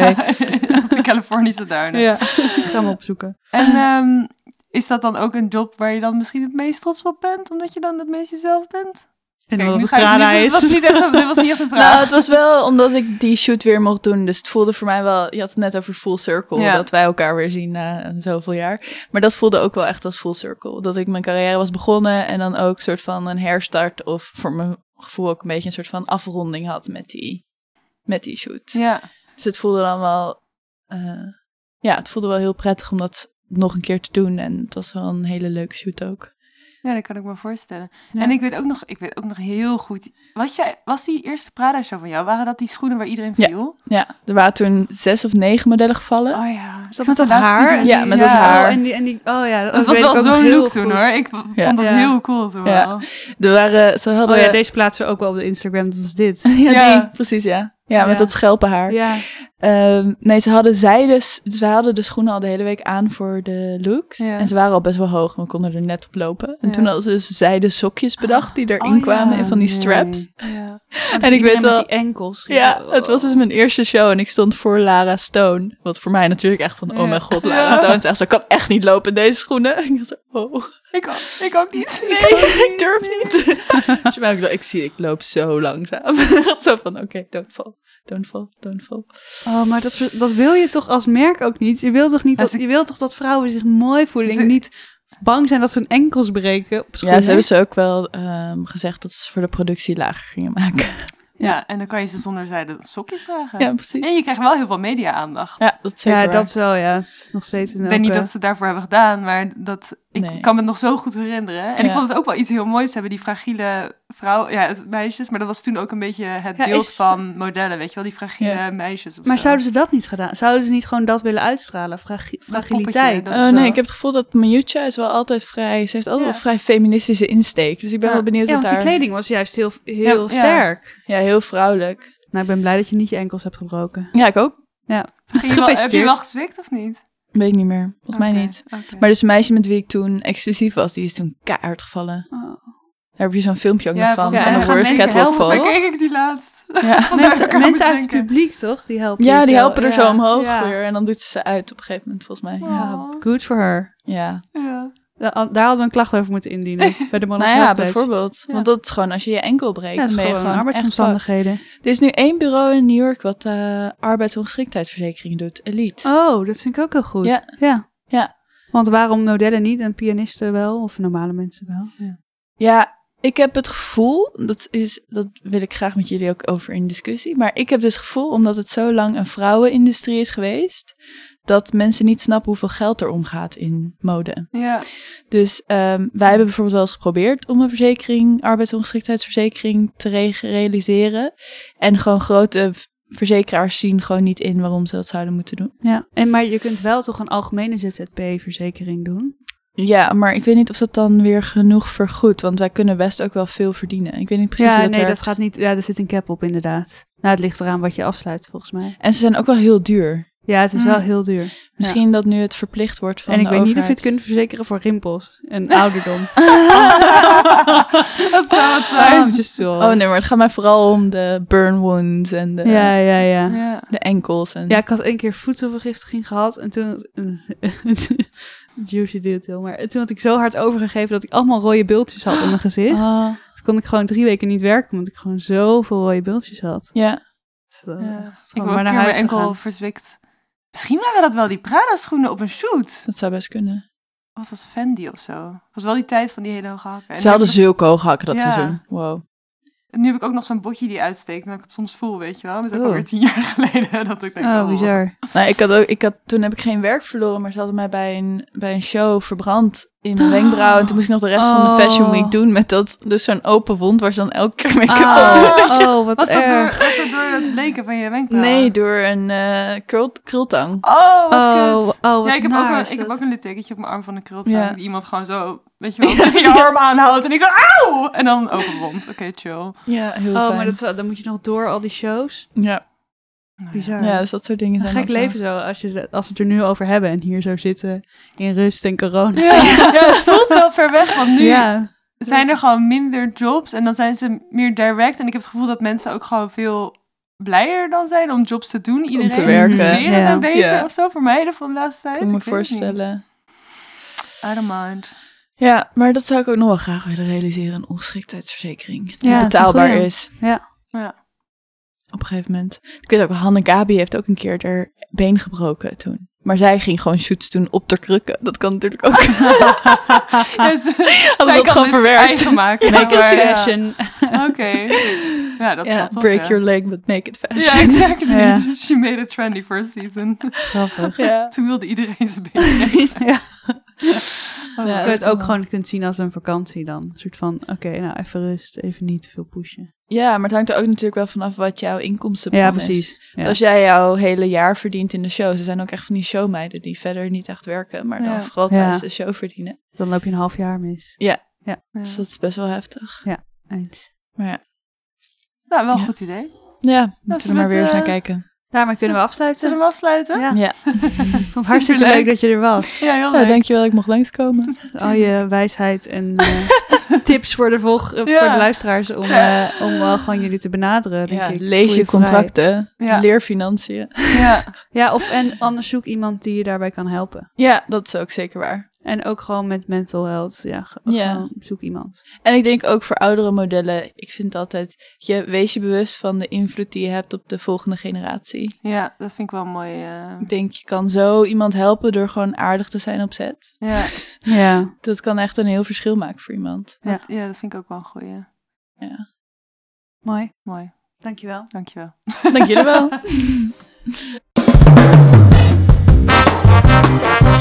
L.A.
Op de Californische duinen.
Ja, ik ga hem opzoeken.
En ehm, is dat dan ook een job waar je dan misschien het meest trots op bent? Omdat je dan het meest jezelf bent?
En
Kijk,
dat
nu
het
ga ik
Prada
niet-
is.
dit Was niet echt, dit was niet echt een vraag.
Nou, het was wel omdat ik die shoot weer mocht doen. Dus het voelde voor mij wel, je had het net over full circle.
Ja.
Dat wij elkaar weer zien na zoveel jaar. Maar dat voelde ook wel echt als full circle. Dat ik mijn carrière was begonnen en dan ook soort van een herstart. Of voor mijn gevoel ook een beetje een soort van afronding had met die, met die shoot.
Ja,
Dus het voelde dan wel, eh, ja, het voelde wel heel prettig om dat nog een keer te doen. En het was wel een hele leuke shoot ook.
ja, dat kan ik me voorstellen.
Ja.
En ik weet, ook nog, ik weet ook nog heel goed... Was, jij, was die eerste Prada-show van jou, waren dat die schoenen waar iedereen
Ja.
viel?
Ja, er waren toen zes of negen modellen gevallen.
Oh ja.
Is dat
Ik zag
met dat
laatst
haar?
video's.
Ja, met dat haar.
Oh, en die, en die, oh ja, dat,
Dat was
weet ik
wel
ook nog
zo'n
heel
look toen
goed.
hoor. Ik v- vond
Ja.
dat
Ja.
heel cool toen
Ja.
wel.
Er waren, ze hadden...
Oh
eh,
ja, deze plaatsen we ook wel op de Instagram, dat was dit.
Ja,
Ja.
die, precies, ja. Ja,
Ja.
met dat schelpenhaar.
Ja,
Ehm, nee, ze hadden zijde, dus we hadden de schoenen al de hele week aan voor de looks.
Ja.
En ze waren al best wel hoog, maar we konden er net op lopen. En
Ja.
toen hadden ze dus zijde sokjes bedacht die erin
Oh
kwamen
ja,
en van die
nee.
straps.
Ja.
En ik weet wel-
die enkels. Oh.
Ja, het was dus mijn eerste show en ik stond voor Lara Stone. Wat voor mij natuurlijk echt van,
Ja.
oh mijn god, Lara Stone. Ze echt zo, ik kan echt niet lopen in deze schoenen. En ik dacht zo, oh,
Ik, ook- ik ook niet. Nee.
ik durf niet. dus je merkt wel, ik zie, ik loop zo langzaam. zo van, oké, don't fall, don't fall, don't fall.
Oh, maar dat, dat wil je toch als merk ook niet? Je wilt toch, niet
Maar
dat, je wilt toch dat vrouwen zich mooi voelen en
Ze-
niet bang zijn dat ze hun enkels breken op schoenen?
Ja, ze hebben ze ook wel ehm, gezegd dat ze voor de productie lager gingen maken.
Ja, en dan kan je ze zonder zijde sokjes dragen.
ja, precies.
En je krijgt wel heel veel media-aandacht.
Ja, dat is zeker
Ja,
waar.
dat wel, ja. Het is Nog steeds een
Ik denk niet dat ze het daarvoor hebben gedaan, maar dat, ik
Nee.
kan me het nog zo goed herinneren. En ik
Ja.
vond het ook wel iets heel moois hebben, die fragiele vrouw, ja, het meisjes. Maar dat was toen ook een beetje het
Ja,
beeld
is-
van modellen, weet je wel, die fragiele
Ja.
meisjes. of
Maar
zo.
zouden ze dat niet gedaan? Zouden ze niet gewoon dat willen uitstralen? Fragi- fragiliteit.
poppetje,
of
Oh
zo?
nee, ik heb het gevoel dat Miucha is wel altijd vrij... Ze heeft altijd
Ja.
wel vrij feministische insteek. Dus ik ben
Ja.
wel benieuwd
Ja,
wat
want die
daar...
kleding was juist heel, heel
Ja, ja.
sterk.
Ja, heel vrouwelijk.
Nou, ik ben blij dat je niet je enkels hebt gebroken.
Ja, ik ook.
Ging je wel- heb je
Gefeliciteerd.
wel gezwikt of niet?
Weet ik niet meer. Volgens mij
Oké,
niet.
oké.
Maar dus een meisje met wie ik toen exclusief was, die is toen keihard gevallen. Daar heb je zo'n filmpje ook nog van.
volgens
Oh. ja,
van
mij
de
gaan
worst
mensen
catwalk
helpen. Daar
fall.
keek ik die laatst.
Ja.
Vandaar dat
Mensen,
ik aan moest
mensen uit het
denken.
publiek, toch? Die helpen
ja,
je
die
zo.
helpen er
Ja.
zo omhoog
Ja.
weer. En dan doet ze ze uit op een gegeven moment, volgens mij. Ja.
Ja,
Oh.
good for her.
ja.
Ja.
Da- Daar hadden we een klacht over moeten indienen. Bij de mannen
Nou ja,
Health Pledge.
bijvoorbeeld.
Ja.
Want dat is gewoon als je je enkel breekt.
Ja, dat is
dan ben je
gewoon,
gewoon echt fout.
arbeidsomstandigheden.
Er is nu één bureau in New York wat eh arbeidsongeschiktheidsverzekering doet. Elite.
Oh, dat vind ik ook heel goed.
Ja.
ja.
Ja.
Want waarom modellen niet en pianisten wel? Of normale mensen wel? Ja.
Ja, ik heb het gevoel, dat, is, dat wil ik graag met jullie ook over in discussie. Maar ik heb dus het gevoel, omdat het zo lang een vrouwenindustrie is geweest, dat mensen niet snappen hoeveel geld er omgaat in mode.
Ja.
Dus ehm, wij hebben bijvoorbeeld wel eens geprobeerd om een verzekering, arbeidsongeschiktheidsverzekering, te re- realiseren. En gewoon grote v- verzekeraars zien gewoon niet in waarom ze dat zouden moeten doen.
En, maar je kunt wel toch een algemene ZZP-verzekering doen?
Ja, maar ik weet niet of dat dan weer genoeg vergoedt, want wij kunnen best ook wel veel verdienen. Ik weet niet precies
ja,
hoe dat
nee,
werkt.
dat gaat niet. Ja, er zit een cap op, inderdaad. Nou, het ligt eraan wat je afsluit, volgens mij.
En ze zijn ook wel heel duur.
Ja, het is
Mm.
wel heel duur.
Misschien dat nu het verplicht wordt van
en ik
de
weet niet of je
overheid.
het kunt verzekeren voor rimpels en ouderdom.
Dat zou het zijn.
I'm just too old.
Oh nee, maar het gaat mij vooral om de burn wounds en de,
Ja, ja, ja.
Ja.
de enkels. En...
Ja, ik had één keer voedselvergiftiging gehad en toen... eh, Juicy detail, maar toen had ik zo hard overgegeven dat ik allemaal rode bultjes had in mijn gezicht.
Ah,
Toen kon ik gewoon drie weken niet werken, omdat ik gewoon zoveel rode bultjes had.
ja.
Dus, eh,
Ja.
echt
Ik
gewoon
heb ook een
maar naar
keer mijn
huis
enkel
gegaan.
verzwikt. Misschien waren dat wel die Prada-schoenen op een shoot.
dat zou best kunnen.
Wat was Fendi of zo? Was wel die tijd van die hele hoge hakken. En
Ze hadden
nu heb ik
zulke hoge hakken dat
Ja.
seizoen. Wow.
nog- Nu heb ik ook nog zo'n botje die uitsteekt en dat ik het soms voel, weet je wel. Maar dat is ook
Oeh.
alweer tien jaar geleden dat ik denk...
Oh, bizar.
Nou, ik had ook, ik had, toen heb ik geen werk verloren, maar ze hadden mij bij een, bij een show verbrand in mijn wenkbrauw. En toen moest ik nog de rest van
Oh.
de Fashion Week doen met dat, dus zo'n open wond waar ze dan elke keer make-up op doen.
Oh, oh, wat
Ah. Was dat, door,
erg.
was dat door het bleken van je wenkbrauwen?
Nee, door een eh krul, krultang.
Oh, wat
Oh,
kut.
oh, wat
ja, ik heb,
naar
ook
is
een, ik heb
dat.
ook een littekentje op mijn arm van een krultang.
Ja.
Die iemand gewoon zo, weet je wel, tegen je arm aanhoudt. En ik zo, auw! En dan open wond. Oké, chill.
Ja, heel
Oh,
fijn.
maar dat, is wel- dan moet je nog door al die shows.
ja.
Nou
Bizar.
ja, dus dat soort dingen
Een
zijn
gek
dat,
leven zo, als, je, als we het er nu over hebben en hier zo zitten in rust en corona.
Ja, ja, het voelt wel ver weg, want nu
Ja,
zijn er gewoon minder jobs en dan zijn ze meer direct. En ik heb het gevoel dat mensen ook gewoon veel blijer dan zijn om jobs te doen. Iedereen,
te werken.
De sferen
Ja.
zijn beter
Ja.
of zo, voor mij de van de laatste tijd.
Ik kan me
Ik weet het niet.
voorstellen.
I don't mind.
Ja, maar dat zou ik ook nog wel graag willen realiseren. Een ongeschiktheidsverzekering. Die
Ja, dat is een
betaalbaar
goeie.
is.
Ja.
Ja.
Op een gegeven moment. Ik weet ook, Hanne Gabi heeft ook een keer haar been gebroken toen. Maar zij ging gewoon shoots doen op de krukken. Dat kan natuurlijk ook.
Ja, ze- zij
Hadden ze ook
kan
gewoon
dit
verwerkt.
eigen maken.
make
maar-
it fashion.
Oké. Ja, dat
Ja,
zal toch,
break
ja.
your leg but make it
Ja,
fashion.
exactly.
Ja.
She made it trendy for a season.
Grappig.
Ja.
Toen wilde iedereen zijn been.
Terwijl
dat
je
is
het ook
wel-
gewoon kunt zien als een vakantie dan. Een soort van, oké, nou even rust, even niet te veel pushen.
Ja, maar het hangt er ook natuurlijk wel vanaf wat jouw inkomsten
Ja,
is.
precies. Ja.
Want Als jij jouw hele jaar verdient in de show. Ze zijn ook echt van die showmeiden die verder niet echt werken. Maar dan
Ja.
vooral
Ja.
tijdens de show verdienen.
Dan loop je een half jaar mis.
Dus dat is best wel heftig.
Eens.
Maar ja,
Nou, wel een
Ja.
goed idee.
ja
zullen
moeten
we
we maar
het,
weer eens
eh,
naar kijken.
Daarmee kunnen we afsluiten.
Zullen we hem afsluiten?
Ja,
Ja.
ik vond het hartstikke leuk
Superleuk.
dat je er was. Nou,
Ja, heel
Ja,
leuk.
dankjewel dat ik mocht langskomen.
Al je wijsheid en eh, tips voor de, volg, eh,
Ja.
voor de luisteraars om, eh, om wel gewoon jullie te benaderen. Denk
Ja,
ik.
lees
Voel
je
vrij.
contracten,
Ja.
leer financiën.
Ja.
Ja, of en anders zoek iemand die je daarbij kan helpen.
Ja, dat is ook zeker waar.
En ook gewoon met mental health. Ja, ge-
Ja.
gewoon zoek iemand.
En ik denk ook voor oudere modellen, ik vind altijd, je, wees je bewust van de invloed die je hebt op de volgende generatie.
ja, dat vind ik wel mooi. eh,
Ik denk, je kan zo iemand helpen door gewoon aardig te zijn op set.
ja.
Ja,
Dat kan echt een heel verschil maken voor iemand.
Ja.
Dat, ja, dat vind ik ook wel een goeie.
mooi.
Mooi,
Dankjewel.
dankjewel.
Dank jullie wel.